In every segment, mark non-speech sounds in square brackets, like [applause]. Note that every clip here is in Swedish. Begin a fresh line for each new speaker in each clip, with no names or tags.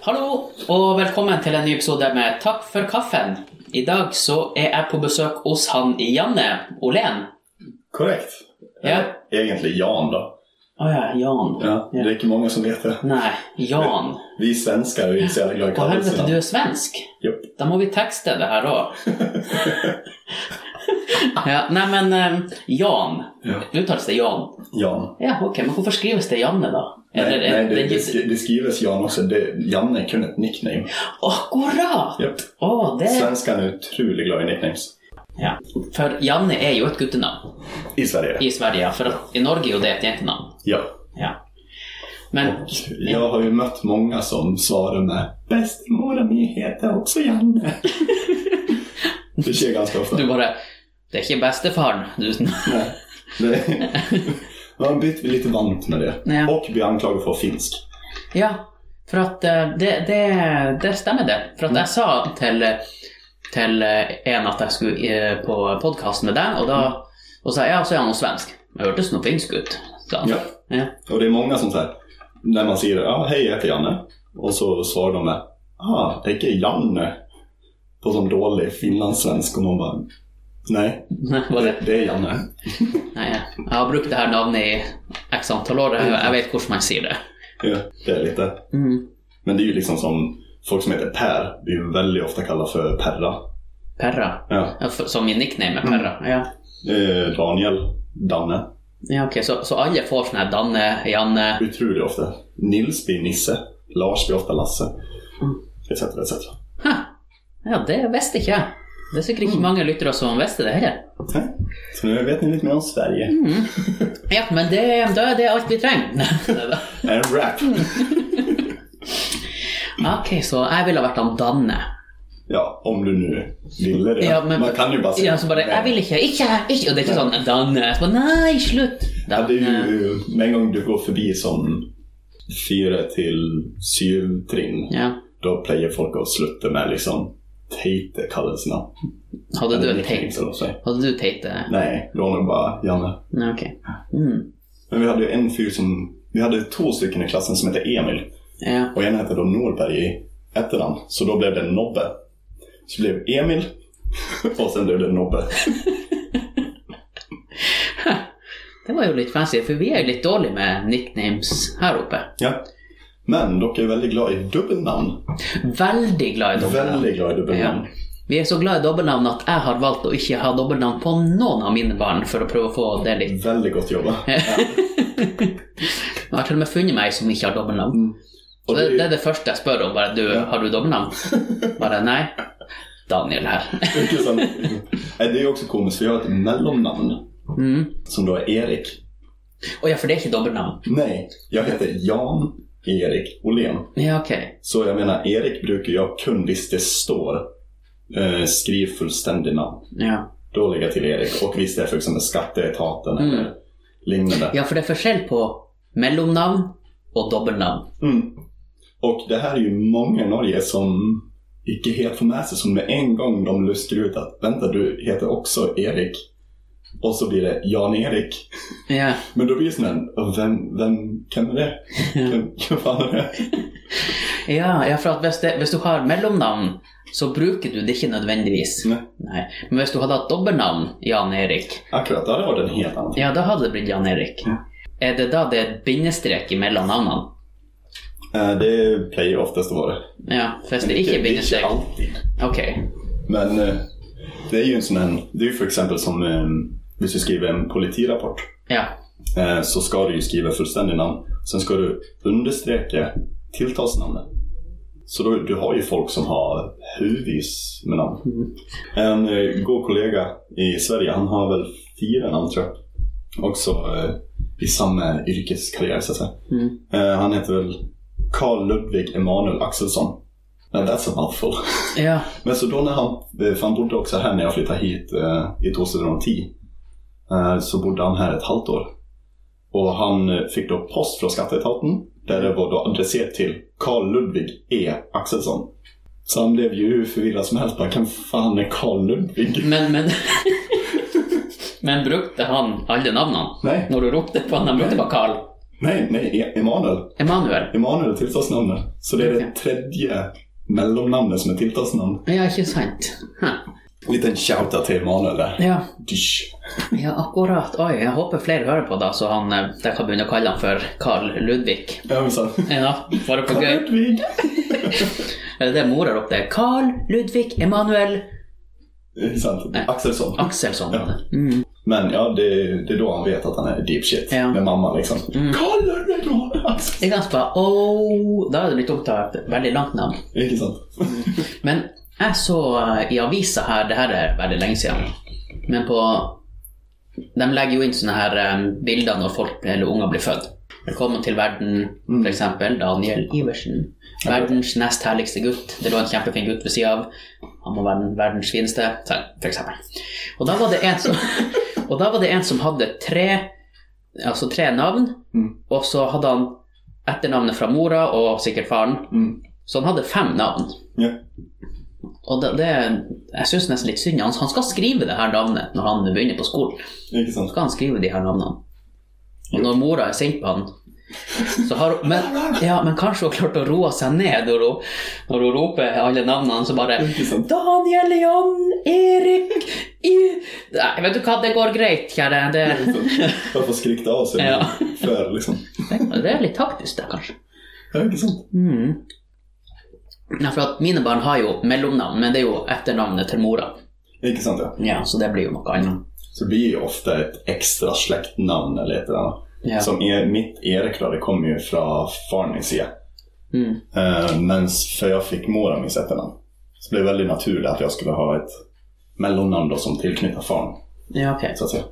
Hallå och välkommen till en ny episode med Tack för kaffen. Idag så är jag på besök hos han Janne Åhlén.
Korrekt.
Ja.
Egentligen Jan då.
Ah ja, Jan.
Ja, det är inte många som vet det.
Nej, Jan.
Vi svenskar vi är så jävla glada i
Vad helvete, du
kallelserna.
är svensk.
Japp.
Då må vi texta det här
[laughs]
då. ja, nej men eh, Jan.
Ja.
Uttalas det Jan?
Jan.
Ja, okej, men varför skrivs det Janne då?
Nej,
Eller,
nej
eh,
det, det,
det-
sk- det skrivs Jan också. Det, Janne är kun ett nickname.
Akkurat!
Japp.
Åh, det...
Svenskan är otroligt glada i nicknames.
Ja. För Janne är ju ett guttenamn
I Sverige.
i Sverige, ja, för att i Norge är ju det ett jentenamn.
Ja.
Ja. Men,
Jag har ju mött många som svarar med Bästemora min heter
[laughs]
också Janne. det sker ganska ofta.
du bara, det är inte bästefaren. Du,
Nej. Det,
[laughs]
man har blivit lite vant med det.
Ja.
Och blir anklagad för finsk.
ja, för att eh, det, det, det stämmer det. För att jag sa till, till eh, en att jag skulle eh, på podcast med dig och då och sa ja, så är han nog svensk. Jag hördes nog finsk ut. sa han.
Ja.
Ja. [laughs]
Och det är många som säger, när man säger ja, hej jag heter Janne. Och så svarar de med, ah, det är Janne. På sån dålig finlandssvensk och man bara, nej,
Nej, var det?
det, det är Janne.
Nej, jag har brukt det här namnet i x antal år. Jag, jag vet hur man säger det.
Ja, det är lite.
Mm.
Men det är ju liksom som folk som heter Per, blir ju väldigt ofta kallade för Perra.
Perra.
Ja.
Ja, för- Som min nickname är Perra. Ja.
Eh, Daniel, Danne,
Ja, okej, så, så alla får sån här Danne, Janne.
otroligt ofta. Nils blir Nisse, Lars blir ofta Lasse.
Mm.
Etc, etc.
Huh. Ja, det visste inte jag. Det är säkert inte
Mm.
många lyttare som visste det heller.
Nej. Så nu vet ni lite mer om Sverige.
Mm. Ja, men det, då är det allt vi tränger.
[laughs] En rap!
[laughs] Okej, så jag ville ha varit om Danne.
Ja, om du nu ville det.
Ja, men-
Man kan ju bara säga
Ja, så bara, jag
nej.
vill inte, inte, inte. Och det är inte sån Danne. Så bara, nej, slut.
Ja, det är
Danne.
ju med en gång du går förbi som fyra till syvtrin.
Ja.
Då plejer folk att sluta med liksom Teite kallelserna.
Hade du
Eller
en
nicknames,
tejt?
eller vad säger.
Hade du tejt? eh?
Nej, det var nog bara Janne.
Nej, okej. Mm.
Men vi hade ju en fyr som, vi hade två stycken i klassen som hette Emil.
Ja.
Och en hette då Norberg i etternamn. Så då blev det Nobbe. Så blev Emil. [laughs] Och sen blev det Nobbe.
Det var ju lite fancy, för vi är ju lite dåliga med nicknames här uppe.
Ja. Men dock är jag väldigt glad i dubbelnamn.
Väldigt glad i dobbelnamn.
Väldigt glad i dubbelnamn.
Ja. Vi är så glada i dobbelnamn att jag har valt att inte ha dobbelnamn på någon av mina barn för att pröva att få det lite.
Väldigt gott jobbat.
Jag har till och med funnit mig som inte har dobbelnamn. Så
Mm. Och det
det,
är ju-
det är det första jag frågar om. Bara, du,
Ja.
har du
[laughs]
dobbelnamn? Bara, nej. Daniel här.
Mycket sånt. Nej, Det är ju också komiskt för jag har ett mellannamn
Mm.
som då är Erik.
Och ja, för det är inte dobbelnamn.
Nej, jag heter Jan Erik Åhlén.
Ja, okej.
Så jag menar, Erik brukar jag kun visst det står eh, skriv fullständig namn.
Ja.
Då lägger jag till Erik. Och visst det är för exempel skatteetaten
Mm.
eller liknande.
ja, för det är skillnad på mellannamn och dobbelnamn.
Mm. Och det här är ju många i Norge som icke helt får med sig, som med en gång de luskar ut att vänta, du heter också Erik. Och så blir det Jan-Erik.
Ja.
Men då blir det sån här, "Och vem, vem, vem är det? Vem, vem fan är det?
Ja, ja, för att hvis, det, hvis du har mellomnavn, så bruker du det ikke nødvendigvis.
Nej.
Nei. Men hvis du hadde hatt dobbeltnavn, Jan Erik,
Akkurat, det hade varit en helt annan
ja, da hadde det blitt Jan Erik.
Ja.
Er det da det er et bindestrek mellom navnene?
Eh, Det plejer oftast att vara.
Ja, hvis det ikke er bindestrek.
alltid.
Ok.
Men eh, det är ju en sån här, det är ju för exempel som eh, hvis du skriver en politirapport
Ja.
eh, så ska du ju skriva fullständigt namn. Sen ska du understreka tilltalsnamnet. Så då, du har ju folk som har huvudvis med namn.
Mm.
En eh, god kollega i Sverige, han har väl fyra namn tror jag. Också eh, i samma yrkeskarriär så att säga.
Mm.
Eh, han heter väl Karl Ludvig Emanuel Axelsson. Now that's a mouthful.
Ja.
Men så då när han, eh, för han bodde också här när jag flyttade hit eh, i ett år sedan 10. Eh, så bodde han här ett halvt år. Och han eh, fick då post från skatteetaten där det var då adresserat till Karl Ludvig E Axelsson. Så han blev ju hur förvirrad som helst. Bara, kan fan är Karl Ludvig?
Men, men [laughs] Men brukte han alle navnene?
Nej.
Når du ropte på han, han brukte bare Carl.
Nej, nej, E- Emanuel.
Emanuel.
Emanuel är tilltalsnamnet. Så det är det tredje mellannamnet som är tilltalsnamn.
Ja, ikke sant. Huh.
En liten shoutout till Emanuel där.
Ja,
Dysch.
ja, akkurat. Oi, jeg håper flere hører på, da, så han, eh, jeg kan begynne å kalle han for Carl Ludvig.
Ja, men så.
Ja, bare på gøy.
Ludvig.
Eller det mora ropte. Carl Ludvig Emanuel
Det är Eh, sant.
Nej.
Axelsson.
Axelsson.
Ja.
Mm.
Men ja, det, det är då han vet att han är deep shit
Ja.
med mamma liksom.
Mm.
Kolla det då! Alltså, Axel!
Det er ganske bra. Oh, da er det blitt opptatt et veldig langt navn.
Inte sant?
Men jeg så eh, i avisa her, det her er veldig lenge siden, men på De legger jo inn sånne her eh, bilder når folk eller unger blir født. Velkommen til verden,
Mm.
f.eks. Daniel Iversen. Verdens nest herligste gutt. Det lå en kjempefin gutt ved sida av. Han var verden, verdens fineste, f.eks. Og da var det en som [laughs] Og da var det en som hadde tre Altså tre navn,
Mm.
og så hadde han etternavnet fra mora og sikkert faren.
Mm.
Så han hadde fem navn.
Ja.
Og det, det, jeg syns nesten litt synd. Han, han skal skrive det her navnet når han begynner på skolen.
Inte sant?
Så skal han skrive de her navnene. Og når mora er sint på han, så har hun men, ja, men kanskje hun klarte å roe seg ned når hun, når hun roper alle navnene, så bare
Inte sant?
Daniel, Jan, Erik I... Nei, vet du hva, det går greit, kjære. Det,
Varför skrikte av sig
Ja.
för liksom.
det er litt taktisk, det, kanskje.
Ja, inte sant?
Mm. Ja, for at mine barn har jo mellomnavn, men det er jo etternavnet til mora.
Inte sant ja.
Ja, så det blir jo noe annet.
Så det blir ju ofta ett extra släktnamn eller ett eller annat.
Ja.
Som er, mitt Erik då, det kommer ju från far min sida.
Mm.
Eh, men för jag fick mora min efternamn. Så det blev väldigt naturligt att jag skulle ha ett mellannamn då som tillknyter farn,
Ja, ok.
så att säga.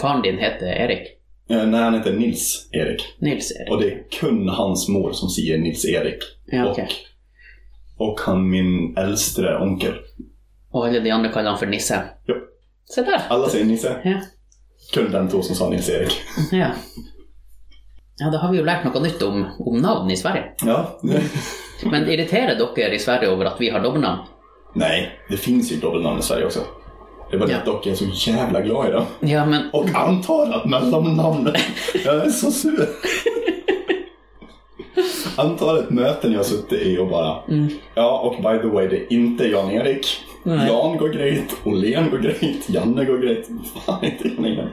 Faren din heter Erik.
Eh, nej, han heter Nils Erik.
Nils-Erik.
Och det är kun hans mor som säger Nils-Erik.
Ja, ok.
Och, och han min äldste onkel.
Och alla de andra kallar han för Nisse.
Ja.
Se där!
Alla säger Nisse.
Ja.
Kun den två som sa Nils-Erik.
ja. Ja, da har vi jo lært noe nytt om, om navn i Sverige. [laughs]
Ja.
Men irriterer dere i Sverige over at vi har dobbeltnavn?
Nej, det finns ju dubbelnamn i Sverige också. Det var det
Ja.
att dock jag är så jävla glad i dem.
Ja, men
Och antar
[laughs]
att mellannamnet... Jag är så sur. Antalet möten jag har suttit i och bara... Ja, och by the way, det är inte Jan-Erik.
Mm. Nej.
Jan går grejt, Åhlén går grejt, Janne går grejt. Fan, inte Jan-Erik.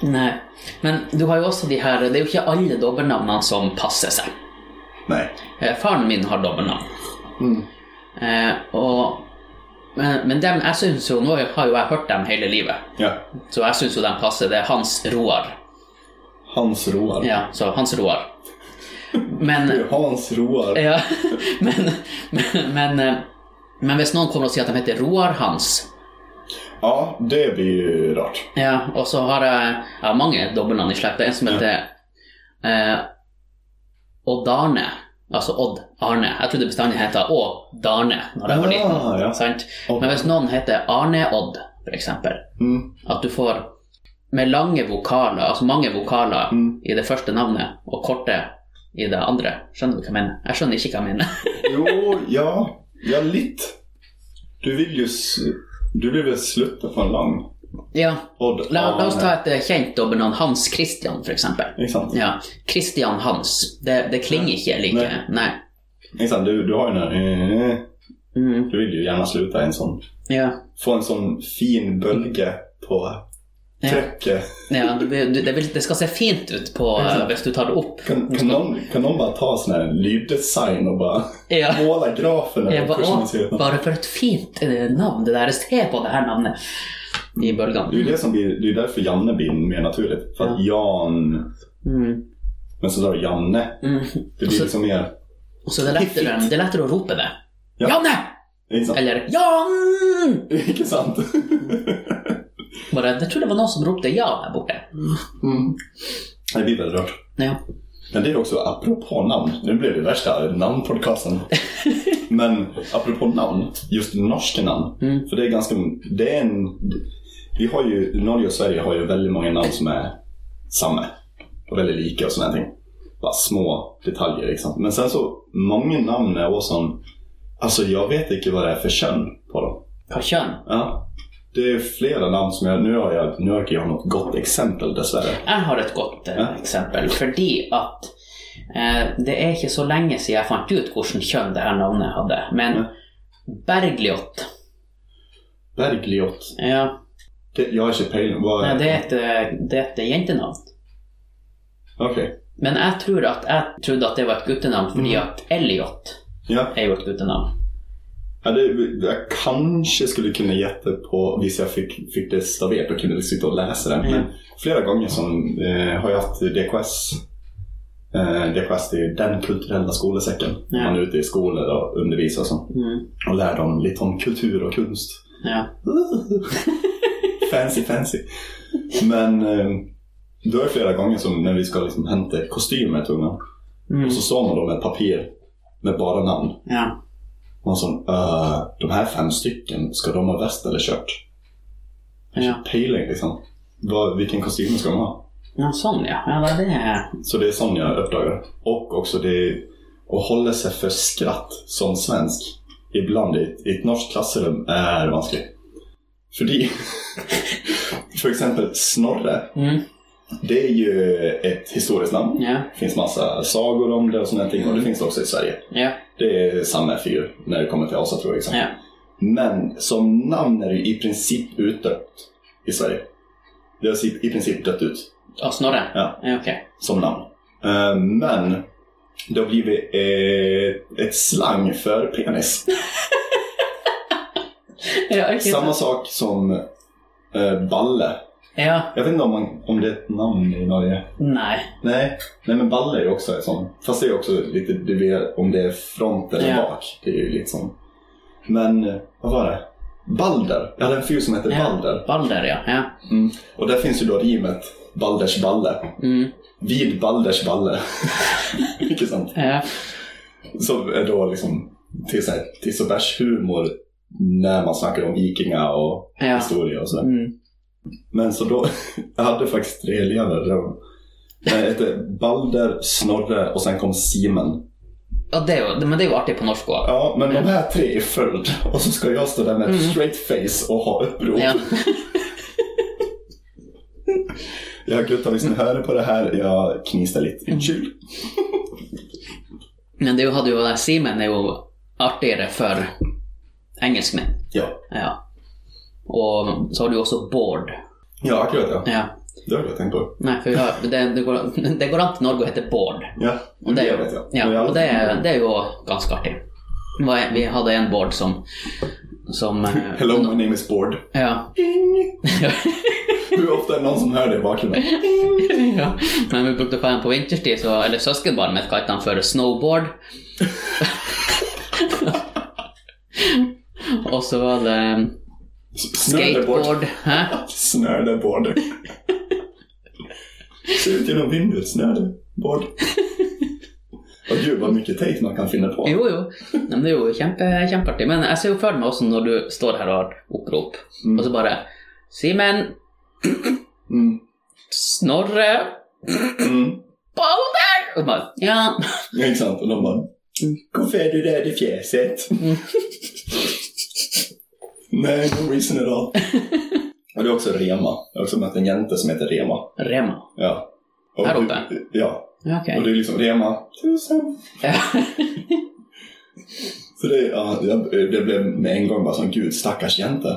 Nei. Men du har jo også de her Det er jo ikke alle dobbeltnavnene som passer seg.
Nej.
Eh, Faren min har dobbeltnavn.
Mm.
Eh, og men, men dem, jeg syns jo Nå har jo jeg hørt dem hele livet,
Ja.
så jeg syns jo dem passer. Det er Hans Roar.
Hans Roar.
Ja, så Hans Roar. Men
Det är Hans Roar.
Ja, [laughs] men, men, men, eh, men hvis noen kommer og sier at de heter Roar Hans
Ja, det blir ju rart.
ja, Og så har eh, jeg, jeg har mange dobbeltnavn i slekta. En som heter eh, Odd Arne. Altså Odd Arne. Jeg trodde bestandig het Å Darne når jeg var liten.
Ah, ja.
Sant?
Odd.
Men hvis noen heter Arne Odd, f.eks.,
Mm.
at du får med lange vokaler, altså mange vokaler
Mm.
i det første navnet og korte i det andre. Skjønner du hva jeg mener? Jeg skjønner ikke hva jeg mener.
Jo, ja. Ja, lite. Du vill ju... s- Du vill väl sluta på en lang?
[laughs] ja,
Odd
La, la oss ta
Arne.
et eh, kjent dobbeltnavn. Hans Christian, f.eks.
Ikke sant?
Ja, Christian Hans. Det, det klinger ikke like
Nei.
Nei.
Ikke sant? Du, du har ju den här... eh,
Mm.
Du vill ju gärna sluta i en sån...
Ja.
Få en sån fin bölge på
ja.
träcket.
ja du, du, det, vil, det skal se fint ut på, eh, hvis du tar det opp.
Kan, kan, någon, kan någon bara ta sån här lyddesign och bara
Ja.
måla grafen?
Jeg
över
ba,
hur man ser ut?
å, bare for et fint eh, navn. Det der, Se på det her navnet i
Det är
bølgene.
ju det som blir, det är ju därför Janne blir mer naturligt. För att Jan...
Mm.
Men så drar du Janne.
Mm.
Det
Och
blir
så-
liksom mer...
Og så er det lettere, det er lettere å rope det.
Ja.
Janne!
Ikke sant?
Eller Jan!
[laughs] Ikke sant?
Bare, jeg tror det var noen som ropte ja der borte.
Mm. Det blir väldigt rört.
Ja.
Men det är också apropå namn. Nu blir det värsta
[laughs]
namnpodcasten. Men apropå namn, just norska namn.
Mm.
För det är ganska... Det är en... Vi har ju... Norge och Sverige har ju väldigt många namn som är samma. Och väldigt lika och sådana ting. Bara små detaljer liksom. Men sen så, många namn är också... Alltså jag vet inte vad det är för kön på dem.
Hva kjønn?
Ja. Det är flera namn som jag... Nu har jag, nu har inte jag något gott exempel dessvärre.
Jeg har et godt eh,
Ja.
eksempel. Fordi at eh, det er ikke så lenge siden jeg fant ut hvordan kjønn det her navnet hadde. Men
Ja.
Bergljot
Bergljot.
ja,
Det, jag har inte pejling. Vad
nei,
är
det, er et, eh, det er et jentenavn.
Okej.
Men jeg tror at jeg trodde at det var et guttenavn fordi
Mhm.
at Elliot
Ja.
er jo et guttenavn.
ja det, jag kanske skulle kunna gätta på, visst jag fick, fick det staverat och kunde sitta och läsa det.
Mm.
Men flera gånger som, eh, har jag haft DKS. Eh, DKS det är den kulturella skolesäcken.
Ja.
Man är ute i skolor och undervisar och, så,
Mm.
och lär dem lite om kultur och konst.
Ja.
fancy, fancy. Men eh, då är det flera gånger som när vi ska liksom hämta kostymer till ungarna.
Mm.
Och så står man då med ett papper med bara namn.
ja.
Man som, "Öh, de här fem stycken, ska de ha väst eller kört?
Ja.
Pejling liksom. Vad, vilken kostym ska de ha?
ja, sånn, ja. ja nei, det er
Så det är sån jag uppdagar. Och också det är att hålla sig för skratt som svensk. Ibland i, i ett norskt klassrum är vanskligt. För det... [laughs] för exempel Snorre.
mm.
Det är ju ett historiskt namn.
Ja.
Det finns massa sagor om det och sådana ting. Och det finns det också i Sverige.
Ja.
Det är samma fyr när det kommer till Asa tror jag. Liksom.
ja.
Men som namn är det i princip utdött i Sverige. Det har i i princip dött ut
Og Snorre?
Ja.
ok.
som namn. Eh, Men det har blivit eh, ett slang för penis.
Ja, ok.
Samma sak som eh, balle.
ja.
Jag vet inte om, man, om det är ett namn i Norge.
Nei.
Nej, nej men balle är ju också ett sånt. Fast det är också lite, du vet om det är front eller
Ja.
bak. Det är ju lite sånt. Men eh, vad var det? Balder. Jag hade en fyr som hette
Ja.
Balder.
Balder, ja. ja.
Mm. Och där finns ju då rimet Balders balle.
Mm.
Vid Balders
[laughs]
balle. Mycket sant.
ja.
Som är då liksom till så här tiss och bärs humor när man snackar om vikingar och
ja.
historia och sådär.
Mm.
Men så då, [laughs] jag hade faktiskt tre elever. Jag jag hette Balder, Snorre og sen kom Simen.
Og det er jo, men det er jo artig på norsk òg.
Ja, men de här tre i följd. Och så ska jag stå där med
Mm.
straight face och ha uppror.
Ja.
Jag gluttar visst hör på det här. Jag knisar lite.
Mm.
Unnskyld.
Men det hadde jo Simen er jo artigere for engelskmenn.
Ja.
Ja. Og så har du jo också Bård.
Ja, akkurat ja.
Ja.
Det har jag tänkt på.
Nei, for vi har, det, det, går, det går an til Norge å hete Bård.
Ja,
Och det,
det vet jag. Men
Ja,
jag
och det, är- det är ju ganska artigt. Det var- Vi hade en board som... som eh,
Hello, my name is Board.
Ja. [laughs]
Hur ofta är det någon som hör det i bakgrunden?
ja. Men vi brukade få en på vinterstid, så, eller söskenbarnet kallade han för snowboard. och så var det ehm,
Snördeboard.
skateboard. Hä?
Snördeboard. Ser ut genom vinduet. Snördeboard. Och gud vad mycket tejp man kan finna på.
Jo, jo. Nej, Men det är ju kämpe, kämpeartigt. Men alltså, jag ser ju för mig också när du står här och har upprop.
Mm.
Och så bara Simon,
Mm.
Snorre,
Mm.
Boulder! Och bara, ja.
Ja, inte sant? Och de bara... Varför är du där i fjäset?
Mm.
Nej, no reason at all. Och det är också Rema. Jag har också mött en jente som heter Rema.
Rema.
Ja. Och
Här
du-
uppe?
Ja.
Ja, Okej.
Och det är liksom Rema, tusen.
Ja. [laughs]
Så det, ja, jag- det blev med en gång bara som gud, stackars jente.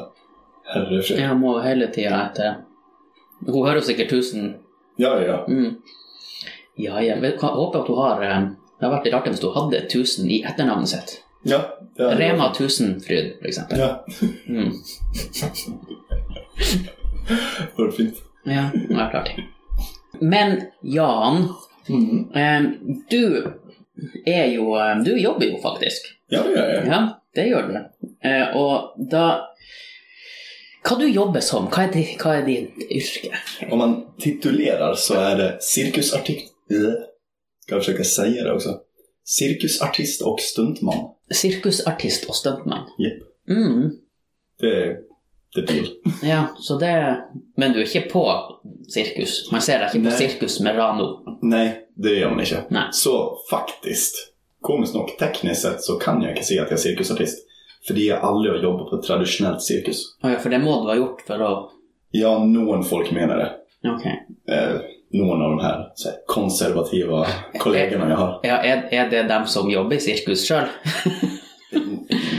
Herre fred. Ja,
Jeg må hele tida etter. Hun hører sikkert 1000.
ja, ja.
Mm. Ja, ja. Men jeg håper at hun har eh, Det hadde vært litt artig hvis hun hadde 1000 i etternavnet sitt.
ja, ja det-
Rema 1000-Fryd, for eksempel.
Ja, [laughs]
Mm.
det var fint.
Ja, det er klart. Men Jan,
Mm.
eh, du er jo eh, Du jobber jo faktisk.
Ja, det gör jag.
Ja, det gjør du. Eh, og da Hva du jobber som? Hva er, di, hva er din yrke?
Om man titulerar så är det cirkusartist... Äh, Ska jag försöka säga det också? Cirkusartist och stuntman.
Sirkusartist og stuntmann.
Jepp.
Mm.
Det, det blir.
Ja, så det Men du er ikke på sirkus? Man ser deg ikke på
Nei.
sirkus med Rano?
Nej, det gör man inte.
Nej.
Så faktiskt, komiskt nog, tekniskt sett så kan jag inte säga att jag är cirkusartist. Fordi jeg aldri har jobbet på et tradisjonelt sirkus.
Å ja, for det må du ha gjort for å
Ja, noen folk mener det.
Ok.
Eh, noen av de her så här, konservative kollegene jeg har.
Ja, er, er det dem som jobber i sirkus [laughs] sjøl?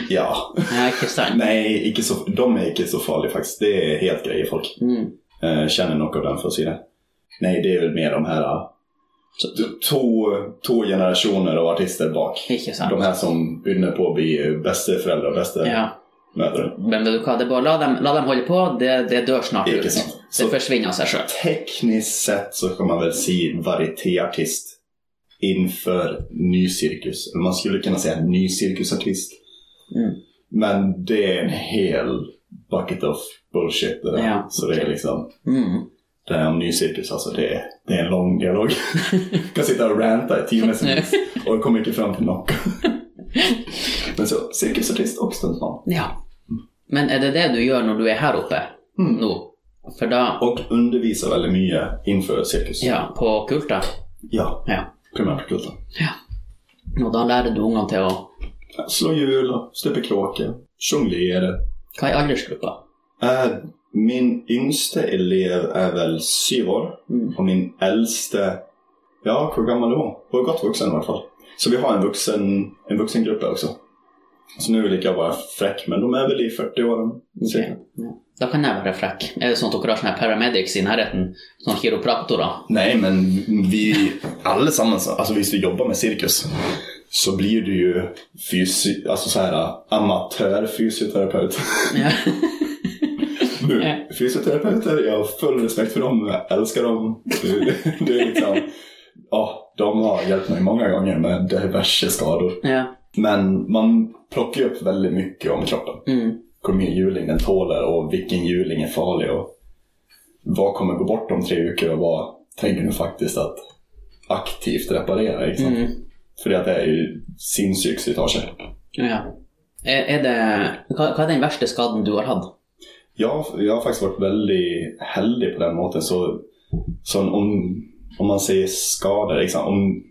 Ja.
Ja, ikke sant?
Nei, ikke så, de er ikke så farlige, faktisk. Det er helt greie folk.
Mm.
Eh, kjenner noen av dem, for å si det. Nei, det er vel mer de her eh,
Så,
to, to generasjoner av artister bak.
ikke sant.
De her som begynner på å bli eh, besteforeldre og
Ja.
bestemødre.
Men vet du hva, det er bare la dem, la dem holde på. Det, det dør snart
Ikke
ut.
sant.
Det
Så
forsvinner av seg sjøl.
tekniskt sett så kan man väl si varietéartist inför ny cirkus. Eller Man skulle kunna säga ny cirkusartist.
Mm.
Men det är en hel bucket of bullshit det där.
Ja,
Så det är liksom,
Mm.
det här om ny cirkus alltså, det är, det är en lång dialog. Jag kan sitta och ranta i timme som helst och jag kommer inte fram till något. Men så, cirkusartist och stuntman.
Ja. Men er det det du gjør når du er her oppe
Mm.
nå? For da
Och undervisar väldigt mycket inför cirkus.
Ja, på kulta.
ja
Ja.
primärt kulten.
Og da lærer du ungene til å
Slå hjul och släpper kråkor. Jonglera.
Hva er aldersgruppa?
Eh, min yngste elev är väl syv år.
Mm.
Och min äldste, ja hur gammal är hon? Hon är gott vuxen i alla fall. Så vi har en vuxen, en vuxengrupp här också. Så nu vill jag vara fräck, men de är väl i 40-åren.
Okej. Da kan jeg være frekk. Er det sånn at dere har sånne paramedics i nærheten? Sånne kiropraktorer?
Nej, men vi allesammans, alltså visst du jobbar med cirkus. Så blir du ju fysi- alltså så här, amatörfysioterapeut.
Ja.
[laughs] Nu, fysioterapeuter, jag har full respekt för dem, jag älskar dem. Det är liksom, ja, de har hjälpt mig många gånger med diverse skador.
ja.
Men man plockar ju upp väldigt mycket om kroppen.
Mm.
Hur mycket hjuling den tåler och vilken hjuling är farlig. Och vad kommer gå bort om tre veckor och vad tänker du faktiskt att aktivt reparera? Liksom?
Mm.
För det att det är ju sinnsjukt slitage.
ja. Er, er det hva, hva er den verste skaden du har hatt?
Jag, jag har faktiskt varit väldigt heldig på den måten. Så, så om, om man säger skador, liksom, om,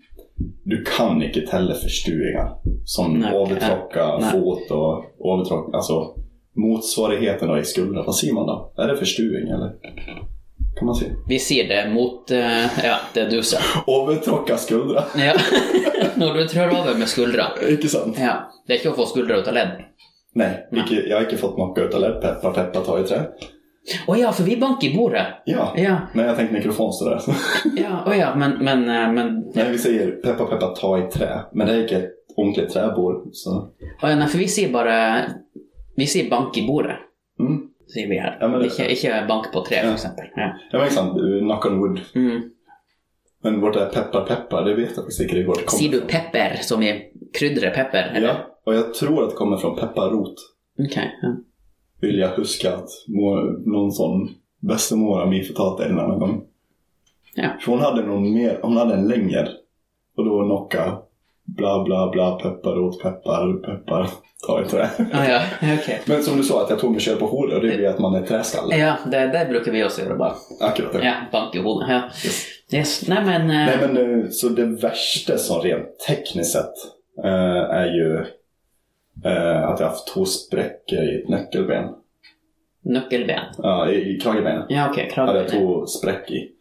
du kan inte tälla försturingar. Som
Nej, okej.
övertrocka
Nej.
fot och övertrocka, alltså motsvarigheten då i skulden. Vad säger man då? Är det försturing eller? Kan man säga?
Vi sier det mot eh, Ja, det du sa.
Övertrocka skuldra. [laughs]
Ja. [laughs] Når du trår over med skuldra.
Inte sant?
Ja. Det er ikke å få skuldra ut av ledd.
Nej,
Nej.
Icke, jag har inte fått knockout eller peppa peppa ta i trä.
Å ja, for vi banker i bordet.
Ja,
Ja.
men jag tänkte mikrofon så där. [laughs]
ja. Å ja, men, men, eh, men
Nej, vi säger peppa peppa ta i trä. Men det är inte ett ordentligt träbord. Så.
Å ja, nei, for vi sier bare Vi sier bank i bordet,
Mm.
sier vi her.
Ja, men det-
ikke, ikke bank på tre,
Ja.
for eksempel. Ja.
Ja men exakt, knock on wood.
Mm.
Men vart är peppar peppar? Det vet jag faktiskt inte vart det kommer
Sier du
ifrån.
pepper som i krydre pepper? eller?
Ja, och jag tror att det kommer från pepparrot.
Ok, ja.
Vill jag huska att må- någon sån bästemor av min förtalade en annan gång.
Ja.
För hon hade någon mer, hon hade en längre. Och då knocka bla bla bla pepparrot, peppar, peppar, ta i trä.
Ah, ja. ok.
Men som du sa att jag tog mig själv på håret och det blir att man är träskalle.
Ja, det, det bruker vi også gjøre, bare.
Akkurat det.
Ja, bank i hodet. Ja. Yes. Nei, men, eh,
Nej men eh, så det värsta som rent tekniskt sett eh, är ju eh, att jag har haft två spräckor i ett nyckelben.
nøkkelben.
Ja, i, i kragebenet.
Ja, ok.
Hade jag
Krabbe.
två spräck i.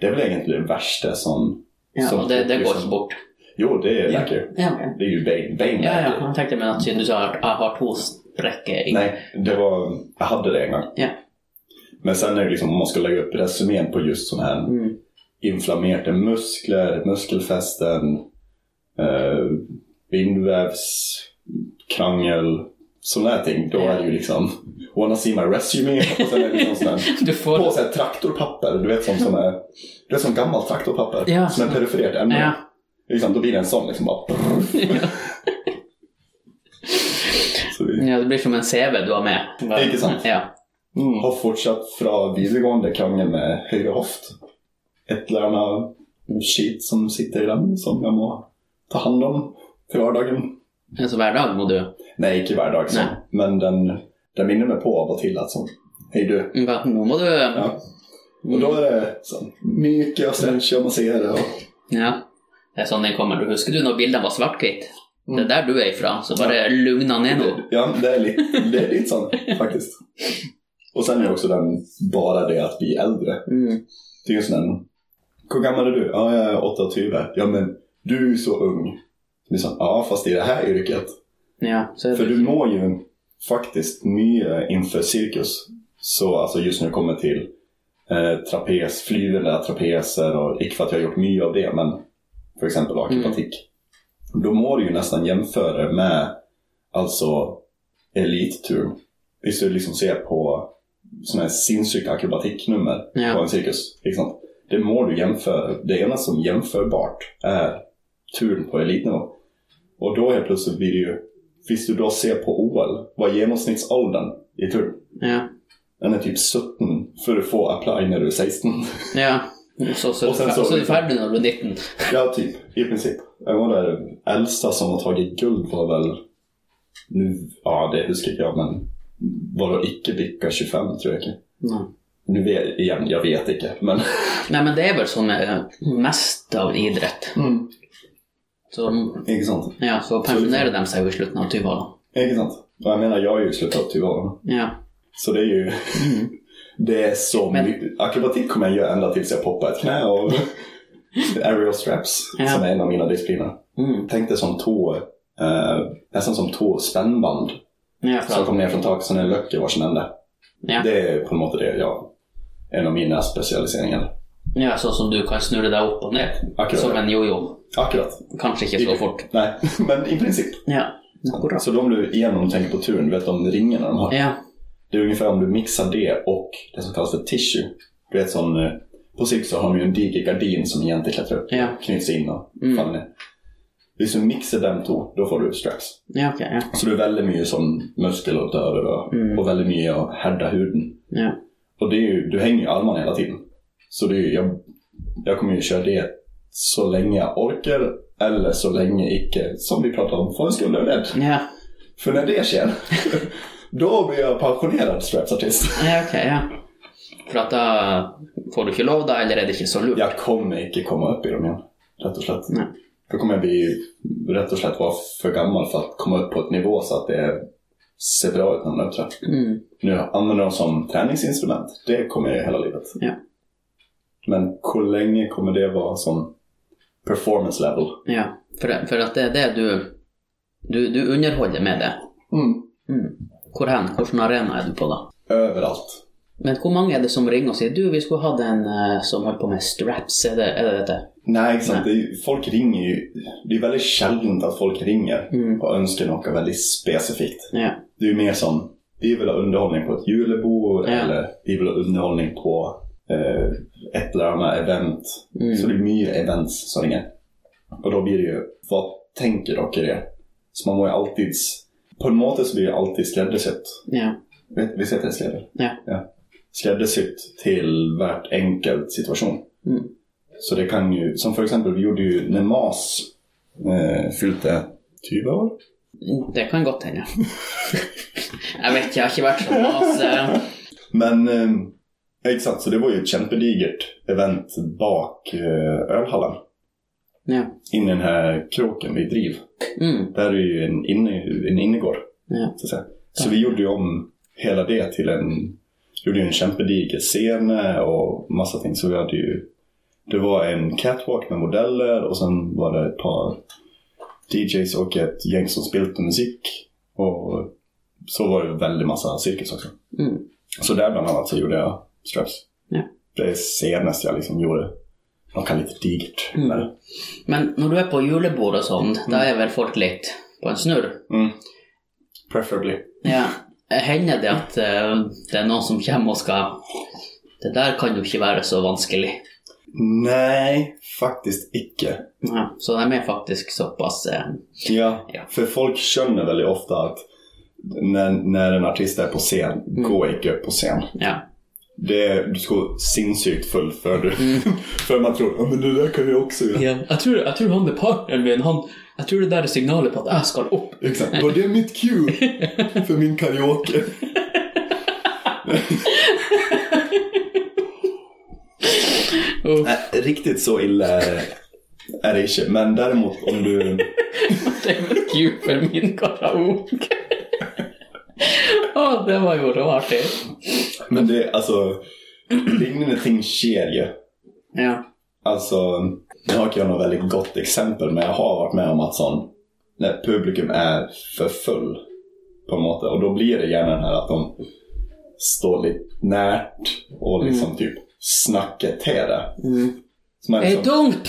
Det är väl egentligen det värsta som...
Ja,
som
og det, det går
liksom-
ikke bort.
Jo, det
Ja.
läker ju.
Ja, ok.
Det är ju Bane.
ja,
Bane
ja.
läker ju.
Jeg tenkte men at siden du sa at jeg har to sprekker i
Nej, det var... Jag hade det en gång.
Ja.
Men sen är det liksom om man ska lägga upp resumén på just sån här
Mm.
inflammerade muskler, muskelfästen, eh, bindvävskrangel, sådana här ting. Då är det ju liksom Wanna see my resume? Och sen är det liksom
[laughs]
sån här,
Du
på
får
så här traktorpapper, du vet som, som är du vet, som gammalt traktorpapper
Ja.
som är perifererat ämne.
Ja.
Liksom, då blir det en sån liksom
[laughs]
bara... Så vi
ja, det blir som en CV du har med.
Ikke sant?
Ja.
har fortsatt från videregående krangel med höger höft. Ett eller annat skit som sitter i den som jag må ta hand om till vardagen.
Så hver Alltså, dag må du
Nej, inte varje dag så.
Nej.
Men den, den minner mig på av och till att så, hej du.
Hva- Nå må du Ja.
Ja. Och då är det så, mycket och sen kör man sig det och
Det er sånn den kommer. Du husker du når bildene var svart-hvitt? Det är där du är ifrån, så bara lugna ner nu.
Ja, det är lite, det är lite sant faktiskt. Och sen är det också den, bara det att bli äldre.
Mm.
Det är ju en sån där, hur gammal är du? Ja, jag är 28. Ja, men du är ju så ung. Det är så, ja, fast i det här yrket.
Ja, så är det.
För du når ju faktiskt mycket inför cirkus. Så alltså just när det kommer till eh, trapez, flyvande trapeser och icke för att jag har gjort mycket av det, men för exempel akrobatik. Då må du ju nästan jämföra det med alltså elittur. Visst du liksom ser på sådana här sinnsjuka akrobatiknummer
Ja.
på en cirkus. Liksom. Det må du jämföra. Det ena som jämförbart är turen på elitnivå. Och då helt plötsligt blir det ju Visst du då ser på OL, vad är genomsnittsåldern i tur?
Ja.
Den är typ 17 för att få apply när du är 16.
ja. Så, så,
Och sen så-
så, är du färdig när du är 19.
[laughs] ja, typ. I princip. Jag var där, äldsta som har tagit guld var väl, nu, ja det huskar inte jag, men var då icke bicka 25 tror jag inte.
Mm.
Nu vet, igen, jag vet inte, men.
Nej men det är väl så med eh, mest av idrott.
Mm.
Så,
Inte sant?
ja, så pensionerar de sig ju i slutet av tillvaron.
Inte sant? Och jag menar, jag har ju slutat tillvaron.
Ja.
Så det är ju,
Mm.
det är så
Men-
mycket. Akrobatik kommer jag göra ända tills jag poppar ett knä och aerial straps,
Ja.
som är en av mina discipliner.
Mm.
Tänk dig som tå, eh, nästan som tå spännband
Ja,
som
för,
kom ner från taket, sen är det löck i varsin ände.
ja.
Det är på något sätt det jag, en av mina specialiseringar.
ja, så som du kan snurra dig upp och ner.
Akkurat.
Som en jojo.
Akkurat.
Kanske inte så
I-
fort.
Nej, [laughs] men i princip.
Ja. Akkurat.
Så de du igen om du tänker på turen, vet de ringarna de har.
Ja.
Det är ungefär om du mixar det och det som kallas för tissue. Du vet sån, eh, på sikt så har de ju en diger gardin som egentligen klättrar upp,
Ja.
knyts in och
Mm.
faller ner. Visst du mixar dem två, då får du straps.
Ja, okej. ja.
Så det är väldigt mycket som muskel och döver och,
Mm.
och väldigt mycket att härda huden.
ja.
Och det är ju, du hänger ju i armarna hela tiden. Så det är ju, jag, jag kommer ju köra det så länge jag orkar eller så länge icke, som vi pratade om, för en skulderrädd.
Ja,
För när det sker, [laughs] då blir jag pensionerad strapsartist.
ja okej. ja. För att då får du inte lov då, eller är det inte så lugnt?
Jag kommer icke komma upp i dem igen, rätt och slätt.
Nej.
Då kommer jag bli, rätt och slätt vara för gammal för att komma upp på ett nivå så att det ser bra ut när man uppträder.
Mm.
Nu använder de som träningsinstrument. Det kommer jag göra hela livet.
Ja.
Men hur länge kommer det vara som performance level?
Ja, för, för att det är det du, du, du underhåller med det. Mm. Hvor hen? Hvilken arena är du på då?
Överallt.
Men hur många är det som ringer och säger du, vi skulle ha den eh, som höll på med straps, är det är det? detta?
Nej, exakt. Det är, ju- folk ringer ju. Det är väldigt sällan att folk ringer
Mm.
och önskar något väldigt specifikt.
Ja.
Det är ju mer som, vi vill ha underhållning på ett julebord
Ja.
eller vi vill ha underhållning på eh, ett eller annat event. Så
Mm.
det är mycket events som ringer. Och då blir det ju, vad tänker dock i det? Så man må ju alltid, på en måte så blir det alltid skräddarsytt.
Ja.
Vet- Visst heter det skräddar?
Ja.
Skräddarsytt till vart enkel situation.
Mm.
Så det kan ju, som för exempel, vi gjorde ju när MAS eh, fyllde 20 år.
Det kan godt hende. [laughs] jag vet ikke, jeg har ikke vært sånn. Altså.
Men eh, exakt, så det var ju ett kämpedigert event bak eh, ölhallen.
Ja.
In i den här kroken vid Driv.
Mm.
Där är ju en, inne, en innergård.
Ja.
Så, att säga. så vi gjorde ju om hela det till en, gjorde ju en kämpediger scen och massa ting. Så vi hade ju, det var en catwalk med modeller och sen var det ett par DJs och ett gäng som spelade musik. Och så var det väldigt massa cirkus också.
Mm.
Så där bland annat så gjorde jag straps.
Ja.
Det senaste jag liksom gjorde. De kan lite digert.
Mm.
men-
Men när du är på julebord och sånt, då är väl folk lite på en snurr.
Mm. Preferably.
Ja. Händer det att eh, det är någon som kommer och ska Det där kan ju inte vara så vanskligt.
Nej, faktiskt icke.
Ja, så de är faktiskt så pass... eh,
Ja,
Ja.
för folk känner väldigt ofta att när, när en artist är på scen,
Mm.
gå icke upp på scen.
Ja.
Det är, du ska vara sinnessjukt full för du.
Mm.
[laughs] för man tror, ja men det där kan jag också göra.
Jag, tror, jag tror han är partnern min. Han, jag tror det där är signalet på att jag ska upp. [laughs]
Exakt, var det mitt cue för min karaoke?
[laughs] Uff.
Nej, riktigt så illa är det inte. Men däremot om du...
Det är väl you för min karaoke. Åh, det var ju eh. råartigt.
Men det, alltså, liknande ting sker ju.
Ja.
Alltså, nu har inte jag något väldigt gott exempel, men jag har varit med om att sån, när publikum är för full på något sätt, och då blir det gärna den här att de står lite närt och liksom typ snackar till det.
Mm.
Så man
Hey,
liksom,
don't!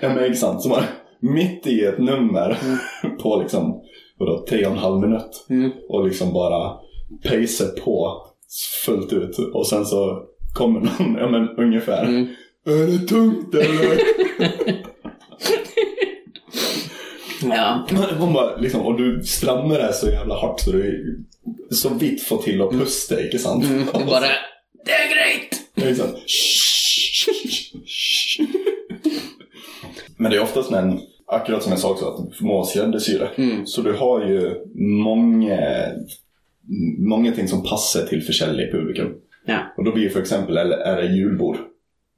ja men exakt, så man, mitt i ett nummer [laughs] på liksom, vadå, tre och en halv minut
Mm.
och liksom bara pacer på fullt ut och sen så kommer någon, [laughs] ja men ungefär,
Mm.
är det tungt eller?
Ja.
Hon bara, liksom, och du strammar det här så jävla hårt så du så vitt får till att pusta, inte sant? [laughs]
Mm. Och bara, det är grejt!
Det är liksom, Men det är oftast en, akkurat som jag sa också, att förmå gräddesyra.
Mm.
Så du har ju många, många ting som passar till försäljning i publiken.
Ja.
Och då blir ju för exempel, eller är det julbord,